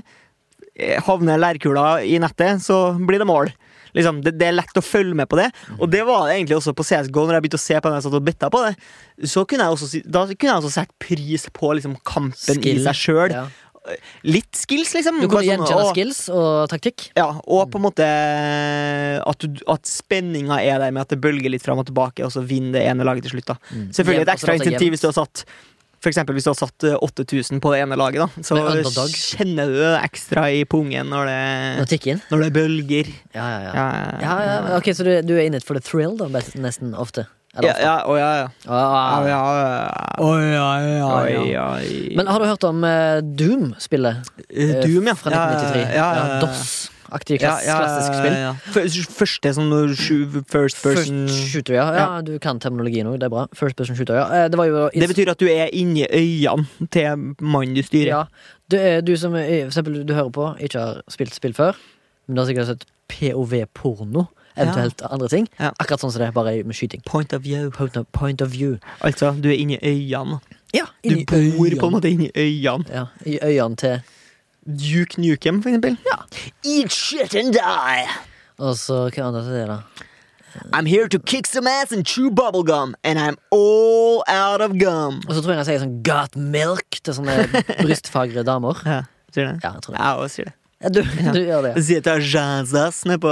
Eh, Havner lærkula i nettet, så blir det mål. Liksom, det, det er lett å følge med på det. Og det var det egentlig også på CSGO, når jeg begynte å se på den jeg satt og betta på det. Så kunne jeg også, si- da kunne jeg også sett pris på liksom, kampen i Skill. seg sjøl. Ja. Litt skills, liksom. Du Bare kunne sånn, gjenkjenne «Å, skills og taktikk. ja, Mm. og på en måte eh, at, du- at spenninga er der med at det bølger litt fram og tilbake, og så vinner det ene laget til slutt. da Jevnt, Selvfølgelig et ekstra altså, altså, insentiv hvis du har satt For eksempel hvis du har satt eh, 8000 på det ene laget, da, så Men underdog? kjenner du det ekstra i pungen når Nå det, tikker inn? når det bølger. Ja, ja, ja. Ja, ja, ja. men Ok, Så du, du er inne for the thrill, da, best- nesten ofte? Eller Ja, ja, å, ja, ja. ofte? Ah, ja, ja, ja. Oi, oi. Men har du hørt om eh, Doom-spillet? Eh, Doom, ja. Fra 1993. Ja, ja, ja. DOS-aktig Ja, klass, ja, klassisk spill. ja. Fø- Første sånn når sju- first person First shooter, ja. ja. Du kan terminologi nå, det er bra. First person shooter, ja. Eh, Det var jo Det betyr at du er inni øynene til mannen du styrer. Ja. Du, eh, du som eh, for eksempel du hører på, ikke har spilt spill før, men du har sikkert sett POV-porno, eventuelt andre ting. Ja. Akkurat sånn som det, er, bare med skyting. Point of view. Point of, point of view. Altså, du er inni øynene. Ja, Du bor på en måte inni øynene. Ja, I øynene til Duke Nukem, for eksempel. Eat shit and die! Og så hva annet er det, da? I'm here to kick some ass and chew bubblegum, and I'm all out of gum. Og så tror jeg han sier sånn 'got milk' til sånne (laughs) brystfagre damer. Ja, sier det. Ja, jeg tror det. Jeg også sier det. Ja, Du, du gjør det. Jeg sier til Jazas nedpå,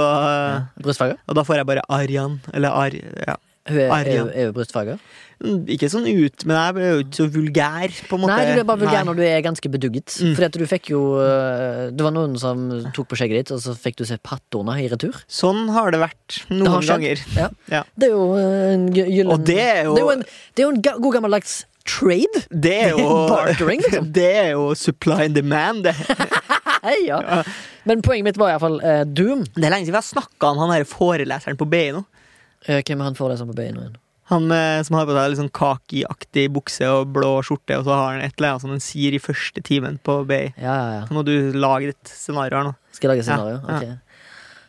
Brystfager? og da får jeg bare Arjan. Eller Ar... Ja. Hun er, er, Arja. jo- er jo brystfager. Mm, Ikke sånn ut, men jeg ble jo ikke så vulgær, på en måte. Nei, du blir bare vulgær Nei. når du er ganske bedugget. Mm. Fordi at du fikk jo øh, Det var noen som tok på skjegget ditt, og så fikk du se pattorna i retur. Sånn har det vært Det noen har skjedd. ganger. Ja. Ja. Det er jo øh, en gy- gyllen Og det er jo- Det er jo en, det er jo en ga god gammeldags trade. (laughs) Det er jo Bartering, liksom. (laughs) Det er jo supply and demand, (laughs) det. Hei, ja. Men poenget mitt var iallfall uh, Doom. Det er lenge siden vi har snakka om han her foreleseren på BI nå. Eh, hvem er han for deg som på BI nå igjen? Han eh, som har på seg litt sånn kakiaktig bukse og blå skjorte, og så har han et eller annet som han sier i første timen på BI. Ja, ja, ja. Nå må du lage et scenario her nå. Skal jeg lage Ja, scenario? ja. Ok.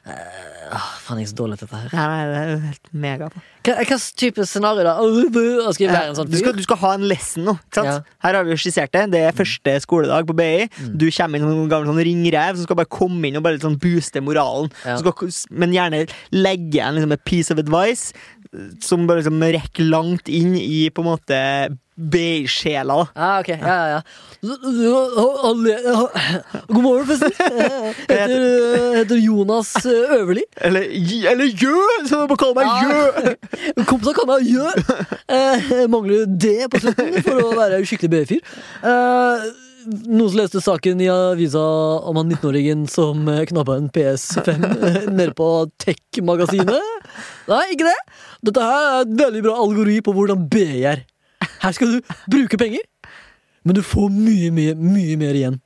Eh, åh, faen, jeg er så dårlig til dette her. Nei, nei, det er jo helt mega på. Hva, hva slags type scenario, da? Åh, buh, og Skal jeg være en sånn du, skal, fyr? du skal ha en lesson nå. Ikke sant? Ja. Her har vi jo skissert det. Det er første skoledag på BI. Mm. Du kommer inn som en gammel sånn ringrev som skal bare komme inn og bare litt sånn booste moralen. Ja. Så Skal, men gjerne legge en liksom, et piece of advice eh, som bare liksom, rekker langt inn i på en måte BI-sjela. da. Ah, ok, ja, ja, ja. God morgen, (laughs) forresten. Jeg Heter, eh, heter Jonas eh, Øverli. Eller, eller Jø, som du må kalle meg! Jø! Kompiser kaller meg Jø. Eh, jeg Mangler D på slutten for å være skikkelig BF-fyr. Eh, Noen som leste saken i avisa om han 19-åringen som eh, knappa en PS5 eh, nede på Tech-magasinet? Nei, ikke det. Dette her er et veldig bra algori på hvordan BI er. Her skal du bruke penger, men du får mye, mye, mye mer igjen.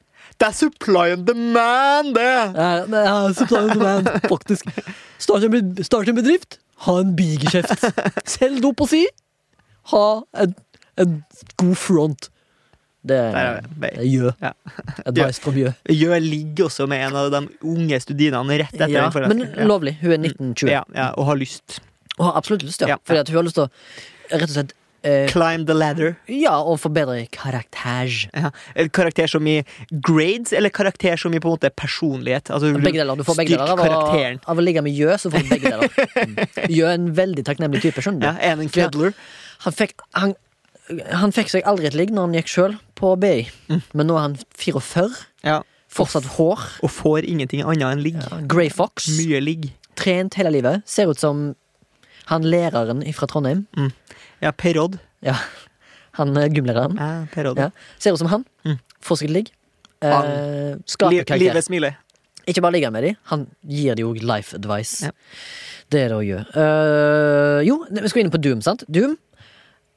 Det er supply and demand, det! Ja, men ja, supply and demand, faktisk. Start en, bed- start en bedrift, ha en bigeskjeft. Selg dop og si, ha en, en god front. Det Der er, er det vi. er Jø. Ja. Advice fra Jø. Jø ligger også med en av de unge studinene rett etter Ja, den men forelesningen. lovlig. Hun er 1920 Mm. ja, ja, og har lyst. og har absolutt lyst, ja. Ja. Fordi at hun har lyst til å rett og slett eh, Climb the ladder. Ja, å forbedre karakter. Ja. Et Karakter som i grades, eller karakter som i på en måte personlighet? Altså, Begge deler. Du får begge styrk deler. Av å, karakteren. av å ligge med Jø, så får du begge (laughs) deler. Mm. Jø er en veldig takknemlig type, skjønner du. Ja, er han en kødler? Han fikk, han, han fikk seg aldri et ligg når han gikk sjøl på BI, Mm. men nå er han 44. Ja. Fortsatt hår. Og får ingenting annet enn ligg. Grey Fox. Mye ligg. Trent hele livet. Ser ut som han læreren fra Trondheim. Ja, Perodd. Ja, han eh, gymlæreren. Ja, Perodd. Ja. Ser ut som han. Mm. Får seg et ligg. Han- Eh, Li Skaper karakter. livet smiler. Ikke bare ligger han med dem, han gir dem jo life advice. Ja. Det er det å gjøre. Eh, jo, vi skal inn på Doom, sant? Doom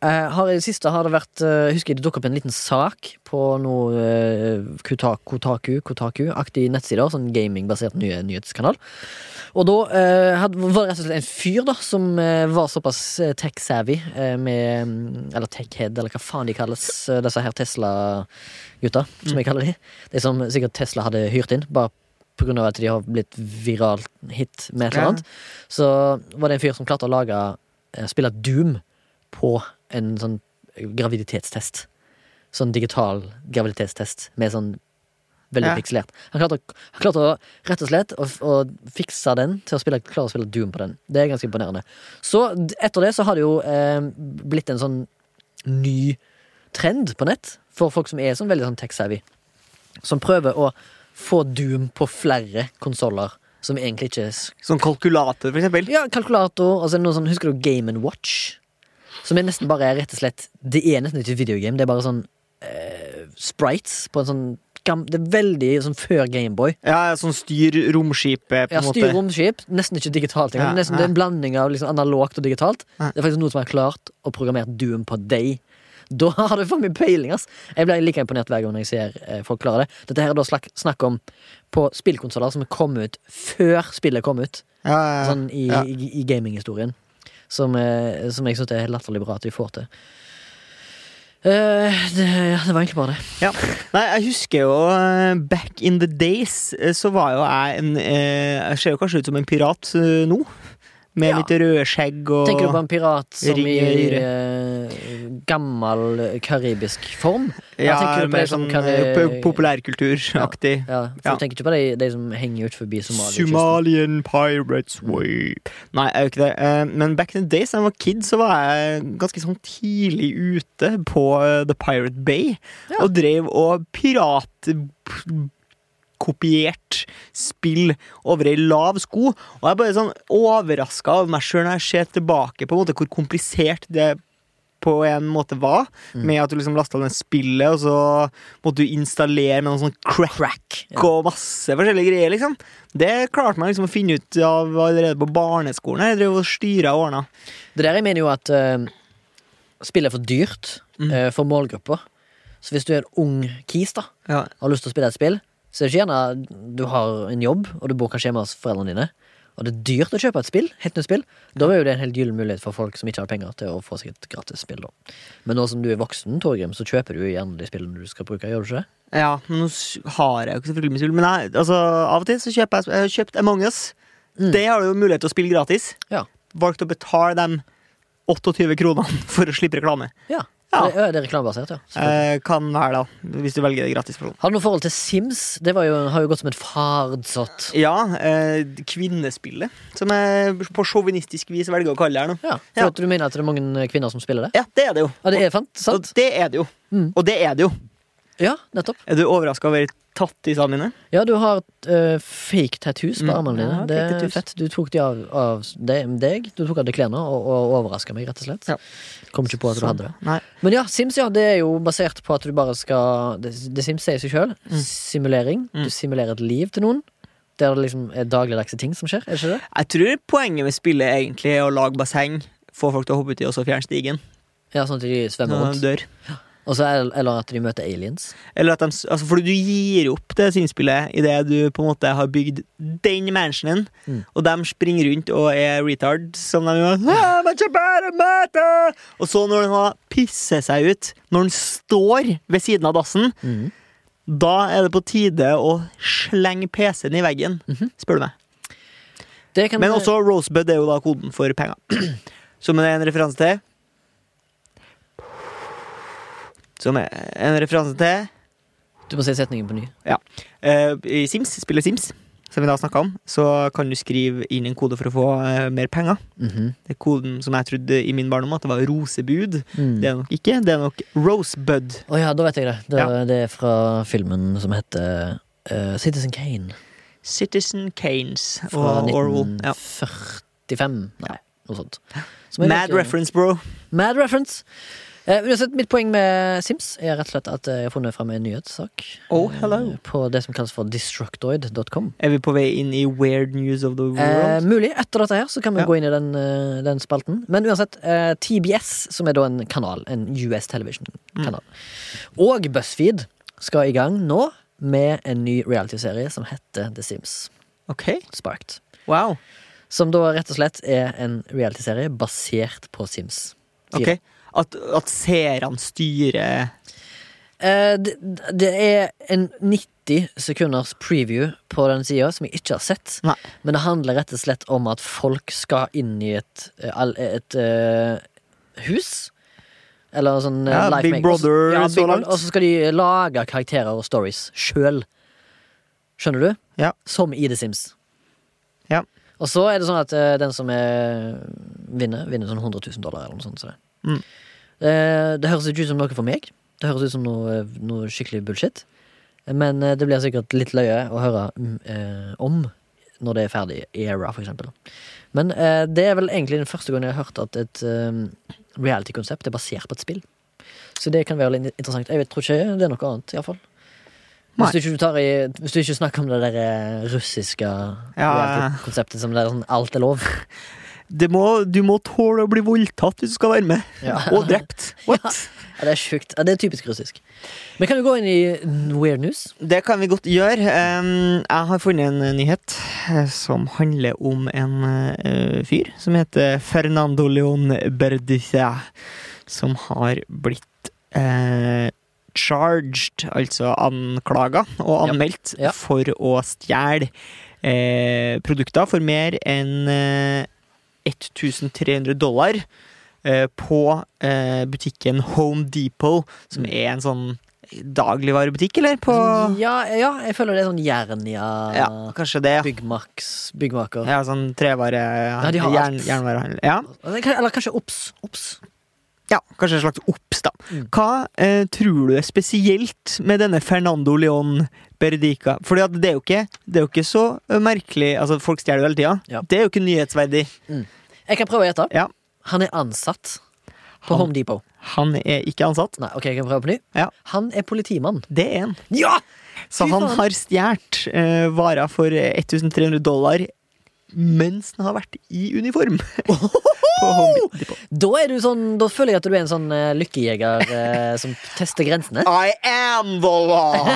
eh, har i det siste har det vært eh, Husker jeg det dukket opp en liten sak på noe eh, Kuta- Kotaku Kotaku-aktige nettsider, sånn gamingbasert nye, nyhetskanal. Og da eh, hadde, var det rett og slett en fyr da som eh, var såpass eh, tech-savvy eh, med mm, Eller tech-head, eller hva faen de kalles, eh, disse her Tesla-gutta, som jeg kaller de. De som sikkert Tesla hadde hyrt inn, bare pga. at de har blitt viralt hit med et eller Ja. annet. Så var det en fyr som klarte å lage eh, spille Doom på en sånn graviditetstest. Sånn digital graviditetstest med sånn veldig Ja. pikselert. Han klarte, å, han klarte å, rett og slett å, f- å fikse den til å spille, klare å spille Doom på den. Det er ganske imponerende. Så d- etter det så har det jo eh, blitt en sånn ny trend på nett for folk som er sånn veldig sånn tech-savvy. Som prøver å få Doom på flere konsoller som egentlig ikke s- Som kalkulator, for eksempel. ja, kalkulator, og så er det noe sånn, husker du Game Watch? Som er nesten bare rett og slett Det er nesten ikke et videogame, det er bare sånn eh, sprites på en sånn gam, Det er veldig sånn før Gameboy. Ja, sånn styr romskipet, på Ja, en måte. styr romskip. Nesten ikke digitalt. engang. Ja, Det er nesten, Det er en blanding av liksom analogt og digitalt. Ja. Det er faktisk noe som har klart å programmere Doom på deg. Da (laughs) har du for mye peiling, ass! Jeg blir like imponert hver gang jeg ser eh, folk klare det. Dette her er da slak- snakk om på spillkonsoller som kom ut før spillet kom ut. Ja, ja, ja. Sånn i, Altså, Ja. i, i gaminghistorien. Som, eh, som jeg syns er helt latterlig bra at vi får til. Eh, det, ja, det var egentlig bare det. Ja. Nei, jeg husker jo eh, back in the days, eh, så var jo jeg en eh, Jeg ser jo kanskje ut som en pirat eh, nå. Med Ja. litt rødskjegg og Tenker du på en pirat som i Ringer. eh, gammel eh, karibisk form? Ja, tenker du på mer det som sånn kan- eh, po- populærkulturaktig. Ja, for Ja. Du tenker ikke på de, de som henger ut forbi Somalia? Somalian pirates way Nei, jeg gjør ikke det. Eh, Men back in the days da jeg var kid, så var jeg ganske sånn tidlig ute på eh, The Pirate Bay. Ja. Og drev og piratkopiert spill over ei lav sko. Og jeg er bare sånn overraska over meg sjøl når jeg ser tilbake på en måte hvor komplisert det på en måte var. Mm. Med at du liksom lasta ned spillet, og så måtte du installere med noe sånn crack, ja. og masse forskjellige greier. liksom Det klarte man liksom å finne ut av allerede på barneskolen. Jeg drev og styra og ordna. Det der jeg mener jo at eh, spillet er for dyrt Mm. eh, for målgruppa. Så hvis du er en ung kis da Ja. har lyst til å spille et spill, så er det ikke gjerne du har en jobb, og du bor kanskje hjemme hos foreldrene dine, og det er dyrt å kjøpe et spill, helt nytt spill, da er jo det en helt gyllen mulighet for folk som ikke har penger til å få seg et gratis spill. da. Men nå som du er voksen, Torgrim, så kjøper du jo gjerne de spillene du skal bruke, gjør du ikke? det? Ja, men nå s- har jeg jo ikke selvfølgelig mye spill, men jeg, altså, av og til så kjøper jeg, jeg har kjøpt Among Us. Mm. Det har du jo mulighet til å spille gratis. Ja. Valgte å betale dem 28 kronene (laughs) for å slippe reklame. Ja. Ja. Så Det, er- det er reklamebasert, ja. selvfølgelig. Eh, kan være, da, hvis du velger det gratis. versjonen. Har du noe forhold til Sims? Det var jo, har jo gått som en fardsott. Ja, eh, kvinnespillet, som jeg på sjåvinistisk vis velger å kalle det her nå. Ja, for Ja. at du mener at det er mange kvinner som spiller det? Ja, det er det jo. Ja, det er fant, Og sant? det er det jo. Mm. Og det er det jo. Ja, nettopp. Er du overraska over tattisene mine? Ja, du har eh, fake tattoos på Mm. armene dine. Ja, det fake er tattoos. fett. Du tok de av, av de- deg. Du tok av deg klærne og, og overraska meg, rett og slett. Ja. Kom ikke på at du hadde det. Sånn. Nei. Men ja, Sims ja, det er jo basert på at du bare skal Det, det Sims sier seg sjøl. Simulering. Mm. Du simulerer et liv til noen. Der det liksom er dagligdagse ting som skjer. Er det ikke det? Jeg tror poenget med spillet egentlig er å lage basseng, få folk til å hoppe uti og så fjerne stigen Ja, Sånn at de svømmer når de rundt. dør. Og så er- eller at de møter aliens. Eller at de, s- altså fordi du gir opp det sinnspillet idet du på en måte har bygd den mansionen, Mm. og de springer rundt og er retard, som de gjør. «Ah, man skal bare møte!» Og så når de har pisset seg ut, når den står ved siden av dassen, Mhm. da er det på tide å slenge PC-en i veggen, spør du meg. Mhm. Det kan Men også Rosebud er jo da koden for penger. (clears throat) Som det er en referanse til Som er en referanse til Du må si setningen på ny. eh, I Sims, spillet Sims, som vi da snakka om, så kan du skrive inn en kode for å få eh, mer penger. Mhm. Det er koden som jeg trodde i min barndom at det var rosebud. Mm. Det er nok ikke. Det er nok rosebud. Å ja, da vet jeg det. Det, Ja. det er fra filmen som heter eh, Citizen Kane. Citizen Kanes Fra og Orwell. Ja. 1945. Nei, noe sånt. Som er Mad like- reference, bro. Mad reference. Eh, uansett, mitt poeng med Sims er rett og slett at jeg har funnet fram en nyhetssak Oh, hello. eh, på det som kalles for destructoid.com. Er vi på vei inn i weird news of the Eh, world? mulig. Etter dette her så kan vi Ja. gå inn i den, eh, den spalten. Men uansett, eh, TBS, som er da en kanal, en US Television-kanal, og BuzzFeed skal i gang nå med en ny realityserie som heter The Sims Ok. Sparked. Wow. Som da rett og slett er en realityserie basert på Sims. Ok, At, at seerne styrer Eh, det, det er en 90 sekunders preview på den sida som jeg ikke har sett. Nei. Men det handler rett og slett om at folk skal inn i et, eh, all- et eh, hus. Eller sånn eh, Ja, life Big making. Brother Og så- så Big Brother. langt. Og så skal de lage karakterer og stories sjøl. Skjønner du? Ja. Som i The Sims. Ja. Og så er det sånn at eh, den som er, vinner, vinner sånn 100 000 dollar eller noe sånt. Så det. Mm. Eh, det høres ikke ut som noe for meg. Det høres ut som noe, noe skikkelig bullshit. Men eh, det blir sikkert litt løye å høre mm, eh, om når det er ferdig. Era, for eksempel. Men eh, det er vel egentlig den første gangen jeg har hørt at et eh, reality-konsept er basert på et spill. Så det kan være litt interessant. Jeg vet, tror ikke det er noe annet, iallfall. Nei. Hvis du, ikke du tar i, hvis du ikke snakker om det der eh, russiske ja, ja. konseptet som det er sånn alt er lov. Det må, du må tåle å bli voldtatt hvis du skal være med. Ja. Og (laughs) drept. What? (laughs) Ja, det er sjukt. Ja, det er typisk russisk. Men kan vi gå inn i weird news? Det kan vi godt gjøre. Em, jeg har funnet en nyhet eh, som handler om en eh, fyr som heter Fernando Leon Berdicia, som har blitt eh, charged, altså anklaga og Ja. anmeldt, Ja. for å stjele eh, produkter for mer enn eh, 1300 dollar eh, på eh, butikken Home Depot, som Mm. er en sånn dagligvarebutikk, eller? På Ja, ja, jeg føler det er sånn Jernia, ja, kanskje det. Byggmaks, byggmaker Ja, sånn trevare Ja, de har alt. jern, Jernvarehandel. Ja. Eller Altså, kan- Eller kanskje OBS. OBS. ja, kanskje en slags obs, da. Mm. Hva eh, tror du er spesielt med denne Fernando Leon Berdica? Fordi at det er jo ikke, det er jo ikke så eh, merkelig Altså, folk stjeler jo hele tida. Ja. Det er jo ikke nyhetsverdig. Jeg kan prøve å gjette. Ja. Han er ansatt på Han- Home Depot. Han er ikke ansatt. Nei, ok, jeg kan prøve på ny. Ja. Han er politimann. Det er han. Ja! Så Fy han faen. har stjålet eh, varer for eh, 1300 dollar mens han har vært (laughs) i uniform. På Home Depot. Da, er du sånn, da føler jeg at du er en sånn eh, lykkejeger eh, som tester grensene. I am (laughs) the law!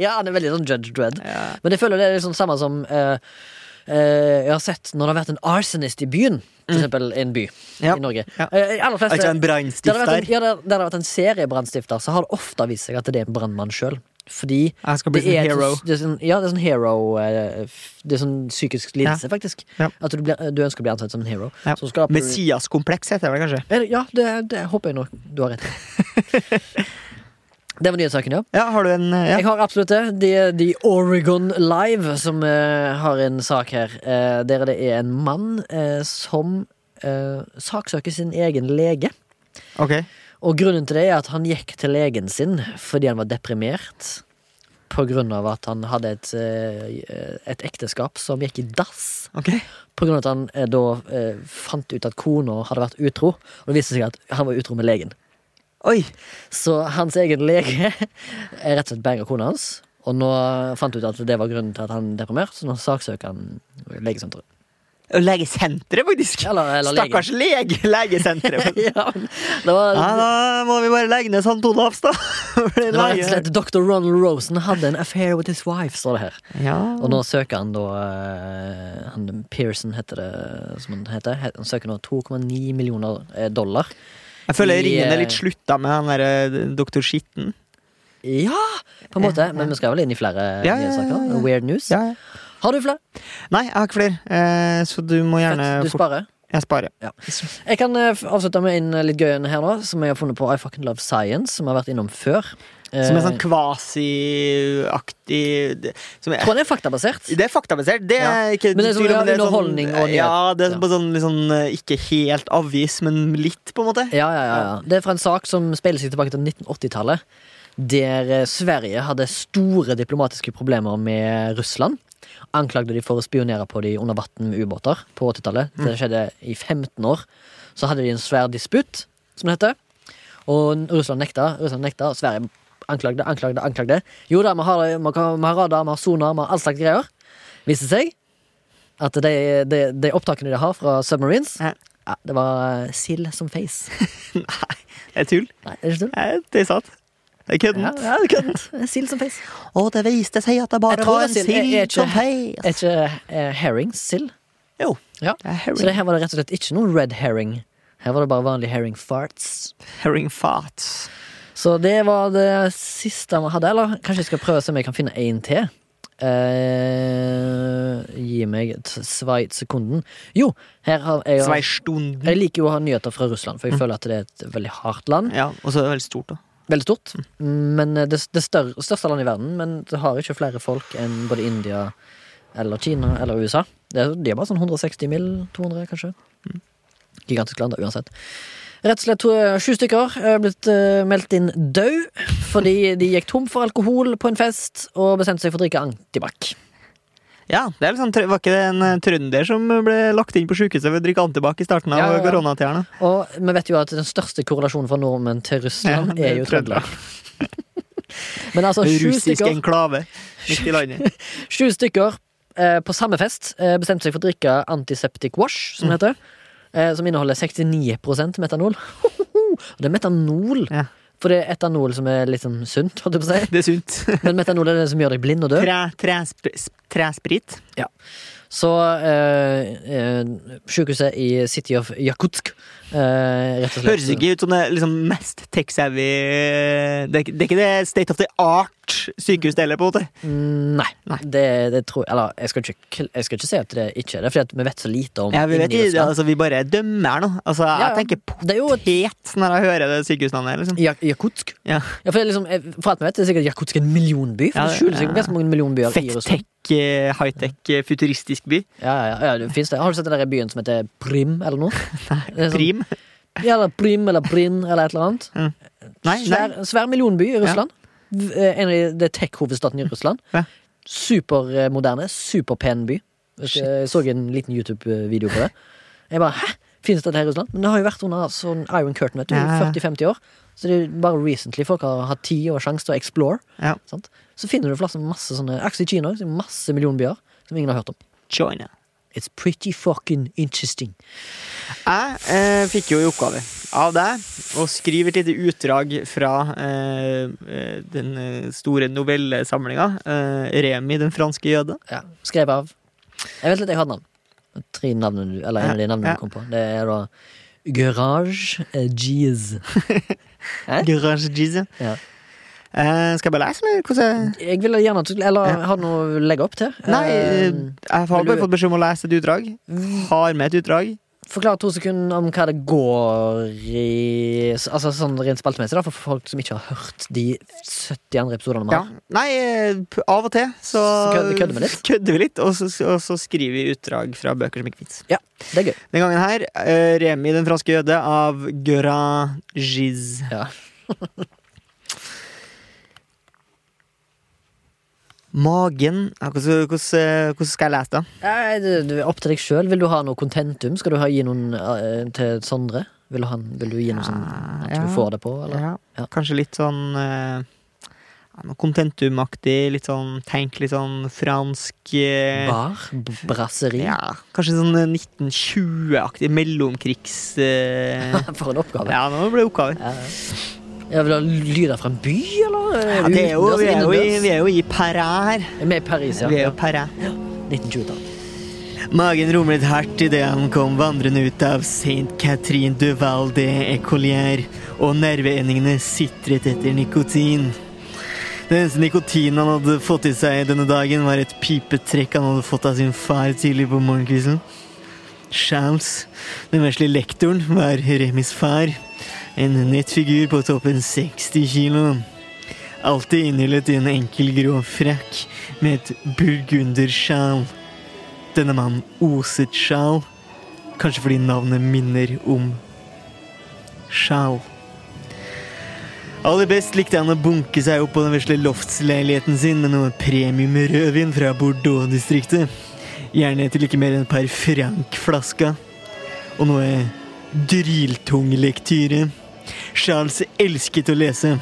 ja, han er veldig sånn Judge Dredd. ja. Men jeg føler det er liksom samme som eh, eh, jeg har sett når det har vært en arsonist i byen. For eksempel i en by Mm. Ja. i Norge. Ja. Eh, aller fleste, Altså en der det har vært en, brannstifter. ja, der, der det har vært en seriebrannstifter, så har det ofte vist seg at det er en brannmann sjøl. Fordi Jeg skal det bli en er, et hero. sånn- det er sånn, ja, det er sånn hero eh, f- Det er sånn psykisk lidelse, faktisk. Ja. At du, blir, du ønsker å bli ansett som en hero. Ja. Så skaper du Messias-kompleks heter det vel kanskje? Eh, Ja, det, det håper jeg nok du har rett i. (laughs) Det var nyhetssaken, ja. Ja, har du en eh, ja. Jeg har absolutt det. De, de Oregon Live som eh, har en sak her. eh, der det er en mann eh, som eh, saksøker sin egen lege. Ok. Og grunnen til det er at han gikk til legen sin fordi han var deprimert. På grunn av at han hadde et, eh, et ekteskap som gikk i dass. ok. På grunn av at han eh, da eh, fant ut at kona hadde vært utro. Og det viste seg at han var utro med legen. Oi! Så hans egen lege (laughs) er rett og slett banga kona hans. Og nå fant ut at det var grunnen til at han er deprimert, så nå saksøker han legesenteret. Legesenteret, faktisk! Eller, eller legen. Stakkars lege! (laughs) Legesenteret. (laughs) Ja, men det var, ja, da må vi bare legge ned St. Olavs, da. (laughs) For det det var rett og lager- slett Dr. Ronald Rosen hadde en affair with his wife, står det her. ja. Og nå søker han da eh, han Pearson heter det, som han heter. Han søker nå 2,9 millioner eh, dollar. Jeg føler i, ringen er eh, litt slutta med han derre doktor Skitten. Ja, på en måte. Men vi skal vel inn i flere Ja, ja, ja, nyhetssaker. ja. Weird news. Ja. ja. Har du flere? Nei, jeg har ikke flere, eh, så du må gjerne Fett, Du fort- sparer? Jeg sparer. (laughs) Ja. Jeg kan eh, f- avslutte med en eh, litt gøy en her nå, som jeg har funnet på I Fucking Love Science, som jeg har vært innom før. Eh, Som er sånn kvasiaktig det- som er- Eh, tror han er faktabasert. Det er faktabasert. Det er ikke Men det er sånn, tvil om ja, det er underholdning og nyhet. Ja, det er Ja. på sånn, litt sånn, eh, ikke helt avvis, men litt, på en måte. Ja, ja, ja, ja. Det er fra en sak som speiler seg tilbake til 1980-tallet. Der eh, Sverige hadde store diplomatiske problemer med Russland. Anklagde de for å spionere på de under vann med ubåter på 80-tallet. Det skjedde i 15 år. Så hadde de en svær disputt, som det heter. Og Russland nekta, Russland nekta, og Sverige anklagde, anklagde, anklagde. Jo da, vi har, vi kan- vi har radar, vi har sonar, vi har all slags greier. Viste seg at de, de, de opptakene de har fra submarines, Ja. ja, det var sild som face. Nei, det er tull. Nei, er det ikke tull? Nei, Det er sant. Det er kødden. Ja, ja, det er (laughs) køddent. Eh, Sild som face. Og det viste seg at det bare Jeg tror var det en sånn er sild. Jeg- jeg er sild ikke- som feis. Er ikke eh, herring sild? Jo. Ja. Det er Så det herring, her var det rett og slett ikke noe red herring. Her var det bare vanlig herring farts. herring farts. Så det var det siste vi hadde. Eller kanskje jeg skal prøve å se om jeg kan finne en til. Eh, gi meg et sveit sekunden. Jo, her har jeg Svei stunden. Jeg liker jo å ha nyheter fra Russland, for jeg føler at det er et veldig hardt land. Ja, og så er det veldig stort, da. Veldig stort. Men eh, det, det større, største landet i verden, men det har ikke flere folk enn både India eller Kina eller USA. Det, er- de er bare sånn 160 mil, 200 kanskje. Mm. Gigantisk land, da, uansett. Rett og slett to, eh, sju stykker er blitt eh, meldt inn død fordi de gikk tom for alkohol på en fest og bestemte seg for å drikke antibac. Ja, det er liksom, trø- Var ikke det en eh, trønder som ble lagt inn på sjukehuset ved å drikke antibac i starten av Ja, ja, ja. koronatiderne? Og vi vet jo at den største korrelasjonen for nordmenn til Russland Ja, det er jo er Trøndelag. Trøndelag. (laughs) Men altså, sju Russisk stykker, enklave midt (laughs) i landet. sju stykker eh, på samme fest eh, bestemte seg for å drikke antiseptic wash, Mm. som det heter. Eh, som inneholder 69 metanol. Og det er metanol! Ja. For det er etanol som er liksom sunt, holdt jeg på å si. Det er sunt. Men metanol er det som gjør deg blind og død. Tre, trespr- s- tresprit. Så eh, eh, sykehuset i City of Yakutsk eh, Rett og slett Høres ikke ut som det liksom mest tech-savvy eh, det, er ikke- det er ikke det state of the art sykehus det gjelder, på en måte. Mm, Nei. Nei. Det, det tror, eller, jeg, skal ikke, kl- jeg skal ikke si at det ikke er det, for vi vet så lite om Ja, vi, vet, inni ikke, Russland. altså, vi bare dømmer her nå. Altså, Ja, ja. jeg tenker Det er jo et potet når jeg hører det sykehusnavnet. Liksom. Jak Jakutsk. Ja. Ja, for, det er liksom, eh, for at vi vet, det er sikkert Jakutsk en millionby. For Ja, det skjuler seg ja. jo ganske mange millionbyer i Fett Russland. tech, eh, high-tech, eh, futuristisk by. Ja, ja, ja, det finnes det. Har du sett den der byen som heter Prim, eller (laughs) noe? Nei, Prim. Ja, eller Prim eller Prin eller et eller annet. Nei, nei. Svær, svær millionby i Russland. V- eh, En av de tech-hovedstaten i Russland. Ja. Supermoderne, superpen by. Vet du, Shit. Jeg så en liten YouTube-video på det. Jeg bare, hæ? Finnes dette her i Russland? Men det har jo vært under sånn Iron Curtain vet du, i Ja, ja. 40-50 år. Så det er jo bare recently folk har hatt tid og sjanse til å explore. Ja. Sant? Så finner du plasser med masse sånne Akkurat i Kina så er det masse millionbyer som ingen har hørt om. China. It's pretty fucking interesting. Jeg eh, fikk jo i oppgave av deg å skrive et lite utdrag fra eh, eh, den eh, store novellesamlinga eh, 'Remi den franske jøde'. Ja. Skrevet av Jeg vet litt, jeg har navn. Tre navnene, du- eller en av de navnene Ja. du kom på. Det er da Garage eh, Jeez. Hæ? Garage Jeezy. Ja. Eh, skal jeg bare lese, eller? Hvordan jeg... Jeg ville gjerne at du Eller har du noe å legge opp til? Nei, eh, Eh, jeg har bare fått beskjed om å lese et utdrag. Har med et utdrag. Forklar to sekunder om hva det går i Altså sånn rent spaltemessig, da, for folk som ikke har hørt de 70 andre episodene vi Ja. har. Nei, eh, p- av og til så Så kødder- kødder vi litt? kødder vi litt, og så, og så skriver vi utdrag fra bøker som ikke fins. Det er gøy. Den gangen her, eh, 'Remi den franske jøde' av Göran Giz. Ja. Magen ja, hvordan, hvordan, hvordan skal jeg lese det? Nei, Eh, det- det er Opp til deg sjøl. Vil du ha noe contentum? Skal du ha, gi noen eh, til Sondre? Vil du, ha, vil du gi noe sånn at Ah, Ja, du får det på, eller? Ja. Ja. Kanskje litt sånn eh, ja, noe kontentumaktig. Litt sånn tenk litt sånn fransk eh, Bar? b- Brasseri? Ja, Kanskje sånn eh, 1920-aktig mellomkrigs... Eh, For en oppgave. (laughs) Ja. ja, nå blir det oppgaver. Jeg vil ha lyder fra en by, eller? Ja, det er jo, Utendørs, vi, er jo i, innendørs? vi er jo i Paris her. Vi er med i Paris, ja. Vi er jo Paris. 1920-tall. Magen rumlet hardt idet han kom vandrende ut av St. Catherine de Val de Écolière, og nerveendingene sitret etter nikotin. Den eneste nikotinen han hadde fått i seg denne dagen, var et pipetrekk han hadde fått av sin far tidlig på morgenkvisten. Charles, den vesle lektoren, var Remis far. En nett figur på toppen 60 kilo. Alltid innhyllet i en enkel grå frakk med et burgundersjal. Denne mannen oset sjal. Kanskje fordi navnet minner om sjal. Aller best likte han å bunke seg opp på den vesle loftsleiligheten sin med noe premium rødvin fra Bordeaux-distriktet. Gjerne til ikke mer enn et par Frank-flasker. Og noe dryltung lektyre. Charles elsket å lese.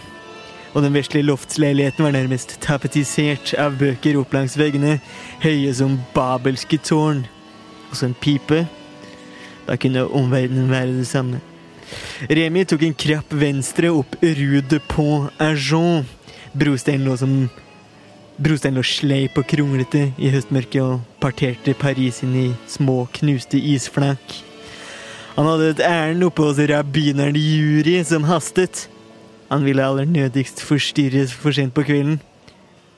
Og den vesle loftsleiligheten var nærmest tapetisert av bøker opp langs veggene, høye som babelske tårn. Og så en pipe. Da kunne omverdenen være det samme. Remi tok en krapp venstre opp Rue de Pont Argent. Brosteinen lå som Brosteinen lå sleip og kronglete i høstmørket og parterte Paris inn i små, knuste isflak. Han hadde et ærend oppe hos rabbineren Juri, som hastet. Han ville aller nødigst forstyrres for sent på kvelden.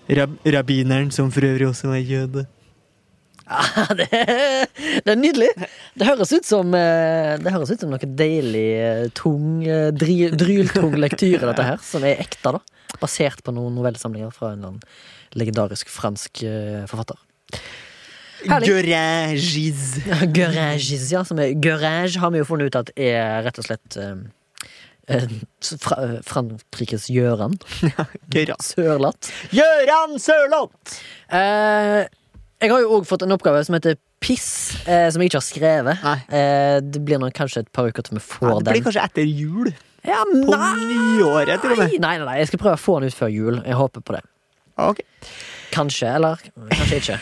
Rab rabbineren, som for øvrig også var jøde. Ah, det, er- det er nydelig! Det høres ut som, eh, det høres ut som noe deilig, eh, tung, eh, dri, dryltung lektyre, dette her, som er ekte, da. Basert på noen novellesamlinger fra en eller annen legendarisk fransk eh, forfatter. (laughs) Herlig. Gørægiz. Garage, ja, som er garage, har vi jo funnet ut at er rett og slett eh, eh, fra, eh, Frankrikes Gjøran. Gøran. Sørlatt. Gøran Sørloth! Eh, Jeg har jo òg fått en oppgave som heter Piss, eh, som jeg ikke har skrevet. Nei. Eh, det blir nok kanskje et par uker til vi får Ja, det blir den. kanskje etter jul. Ja, På nei, nyåret, til og nei, med. nei, nei, jeg skal prøve å få den ut før jul. Jeg håper på det. Ja, ok. Kanskje, eller kanskje ikke.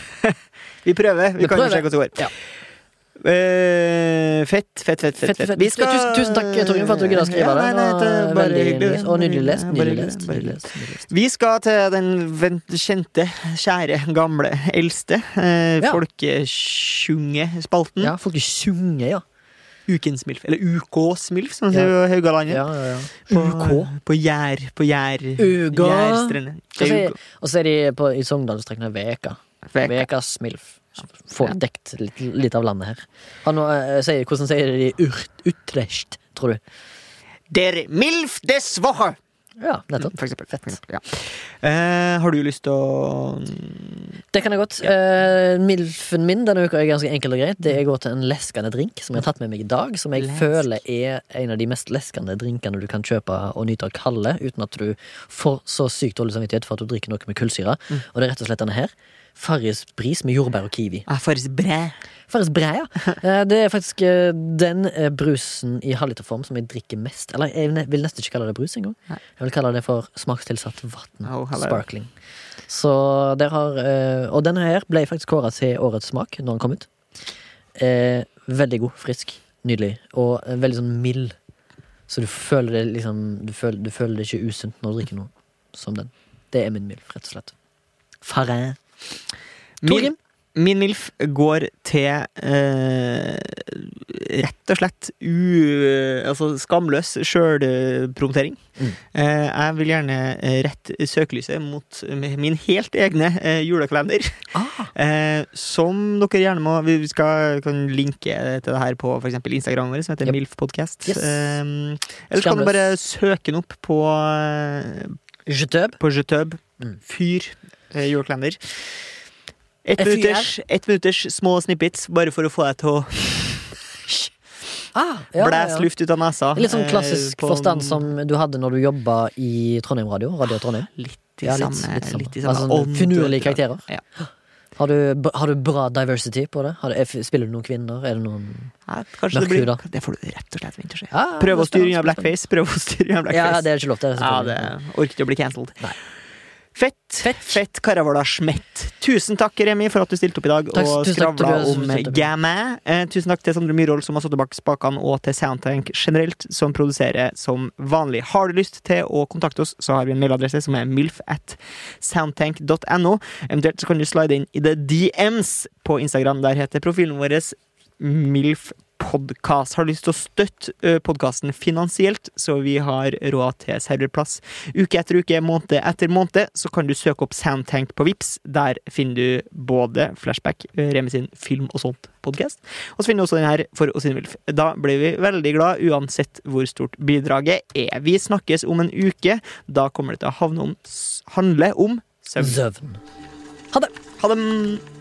Vi prøver. Vi Vi kan jo prøver. sjekke hvordan det går. Ja. Eh, fett, fett, fett. Fett, (laughs) fett, fett, fett. fett. Tusen- tusen takk, Torgrim, for at du gidda å skrive Ja, det. nei, nei, det Det er var bare veldig hyggelig, det. nydelig. Og nydelig lest. Ja, bare Nydelig hyggelig, lest. bare Nydelig hyggelig. lest, nydelig lest. Vi skal til den ven- kjente, kjære, gamle, eldste eh, Ja. folkesjungespalten. Ja, folk synger, ja. Ukens MILF. Eller UKs MILF, som man Ja. sier på Haugalandet. ja, ja, ja. På, UK. På Gjær. På Gjær. Uga. Gjærstrendene. Og så Det er er- Og så er de på, i Sogndalstrekkene Veka. Veka. Vekas Milf. Så Får dekt litt, litt av landet her. Han, eh, sier, hvordan sier de Urt- Utrecht, tror du? Der MILF des Woche! Ja, nettopp. For eksempel. Mm. For eksempel ja. eh, har du lyst til å mm, Det kan jeg godt. Eh, Milfen min denne uka er ganske enkel og greit. Det er å gå til en leskende drink som jeg har tatt med meg i dag. Som jeg Lesk. føler er en av de mest leskende drinkene du kan kjøpe og nyte av kalde, uten at du får så sykt dårlig samvittighet for at du drikker noe med kullsyre. Mm. Og det er rett og slett denne her. Farris bris med jordbær og kiwi. ah, Farris bræ. Farris Bræ, (laughs) ja. Eh, Det er faktisk eh, den eh, brusen i halvliterform som jeg drikker mest. Eller jeg ne- vil nesten ikke kalle det brus engang. Nei. Jeg vil kalle det for smakstilsatt vann. Oh, hello. sparkling. Så der har eh, Og denne her ble faktisk kåra til årets smak når den kom ut. Eh, veldig god, frisk, nydelig og eh, veldig sånn mild. Så du føler det liksom Du føler, du føler det ikke usunt når du drikker noe som den. Det er min mild, rett og slett. Farin. Min, min MILF går til eh, rett og slett u, altså skamløs sjølpromotering. Mm. Eh, jeg vil gjerne eh, rette søkelyset mot min helt egne eh, julekalender. Ah, Eh, som dere gjerne må Vi skal, kan linke til det her på for eksempel Instagram vår, som heter Yep. MILF Podcast. Yes. Eh, eller så kan du Skamløs. bare søke den opp på, eh, je t'aime. på Jutub. Mm. Fyr eh, julekalender. Ett FYR. minutters, ett minutters små snippets, bare for å få deg til å Ah, ja, ja, blæse ja. luft ut av nesa. Litt sånn eh, klassisk på- forstand som du hadde når du jobba i Trondheim Radio. Radio Trondheim. Litt i Ja, samme, litt, i samme altså, ånd, sånn Finurlige tror jeg. karakterer. Ja. Har du, har du bra diversity på det? Har du, er- spiller du noen kvinner? Er det noen Ja, kanskje det Mørkhuda. blir Det får du rett og slett vente og se. Ja, Prøv det å er styre unna spennende. blackface. Prøv å styre unna Ja, blackface. det er ikke lov til. Det er Ja, det selvfølgelig. orker ikke å bli cancelled. Nei. Fett, Fett. fett, fett Karavola Schmett. Tusen takk, Remi, for at du stilte opp i dag Takk, og tusen takk, Tobias, skravla for at du om stilte opp. gamma. Eh, tusen takk til Sondre Myhrvold, som har sittet bak spakene, og til Soundtank generelt, som produserer som vanlig. Har du lyst til å kontakte oss, så har vi en mailadresse som er milf at soundtank.no. Eventuelt så kan du slide inn i the DMs på Instagram. Der heter profilen vår milf podcast. Har du lyst til å støtte podkasten finansielt, så vi har råd til serverplass uke etter uke, måned etter måned, så kan du søke opp Soundtank på Vips. Der finner du både Flashback, eh, Remi sin film og sånt podcast, og så finner du også den her for Åsine Wilf. Da blir vi veldig glad, uansett hvor stort bidraget er. Vi snakkes om en uke. Da kommer det til å havne om, handle om søvn. Søvn. Ha det!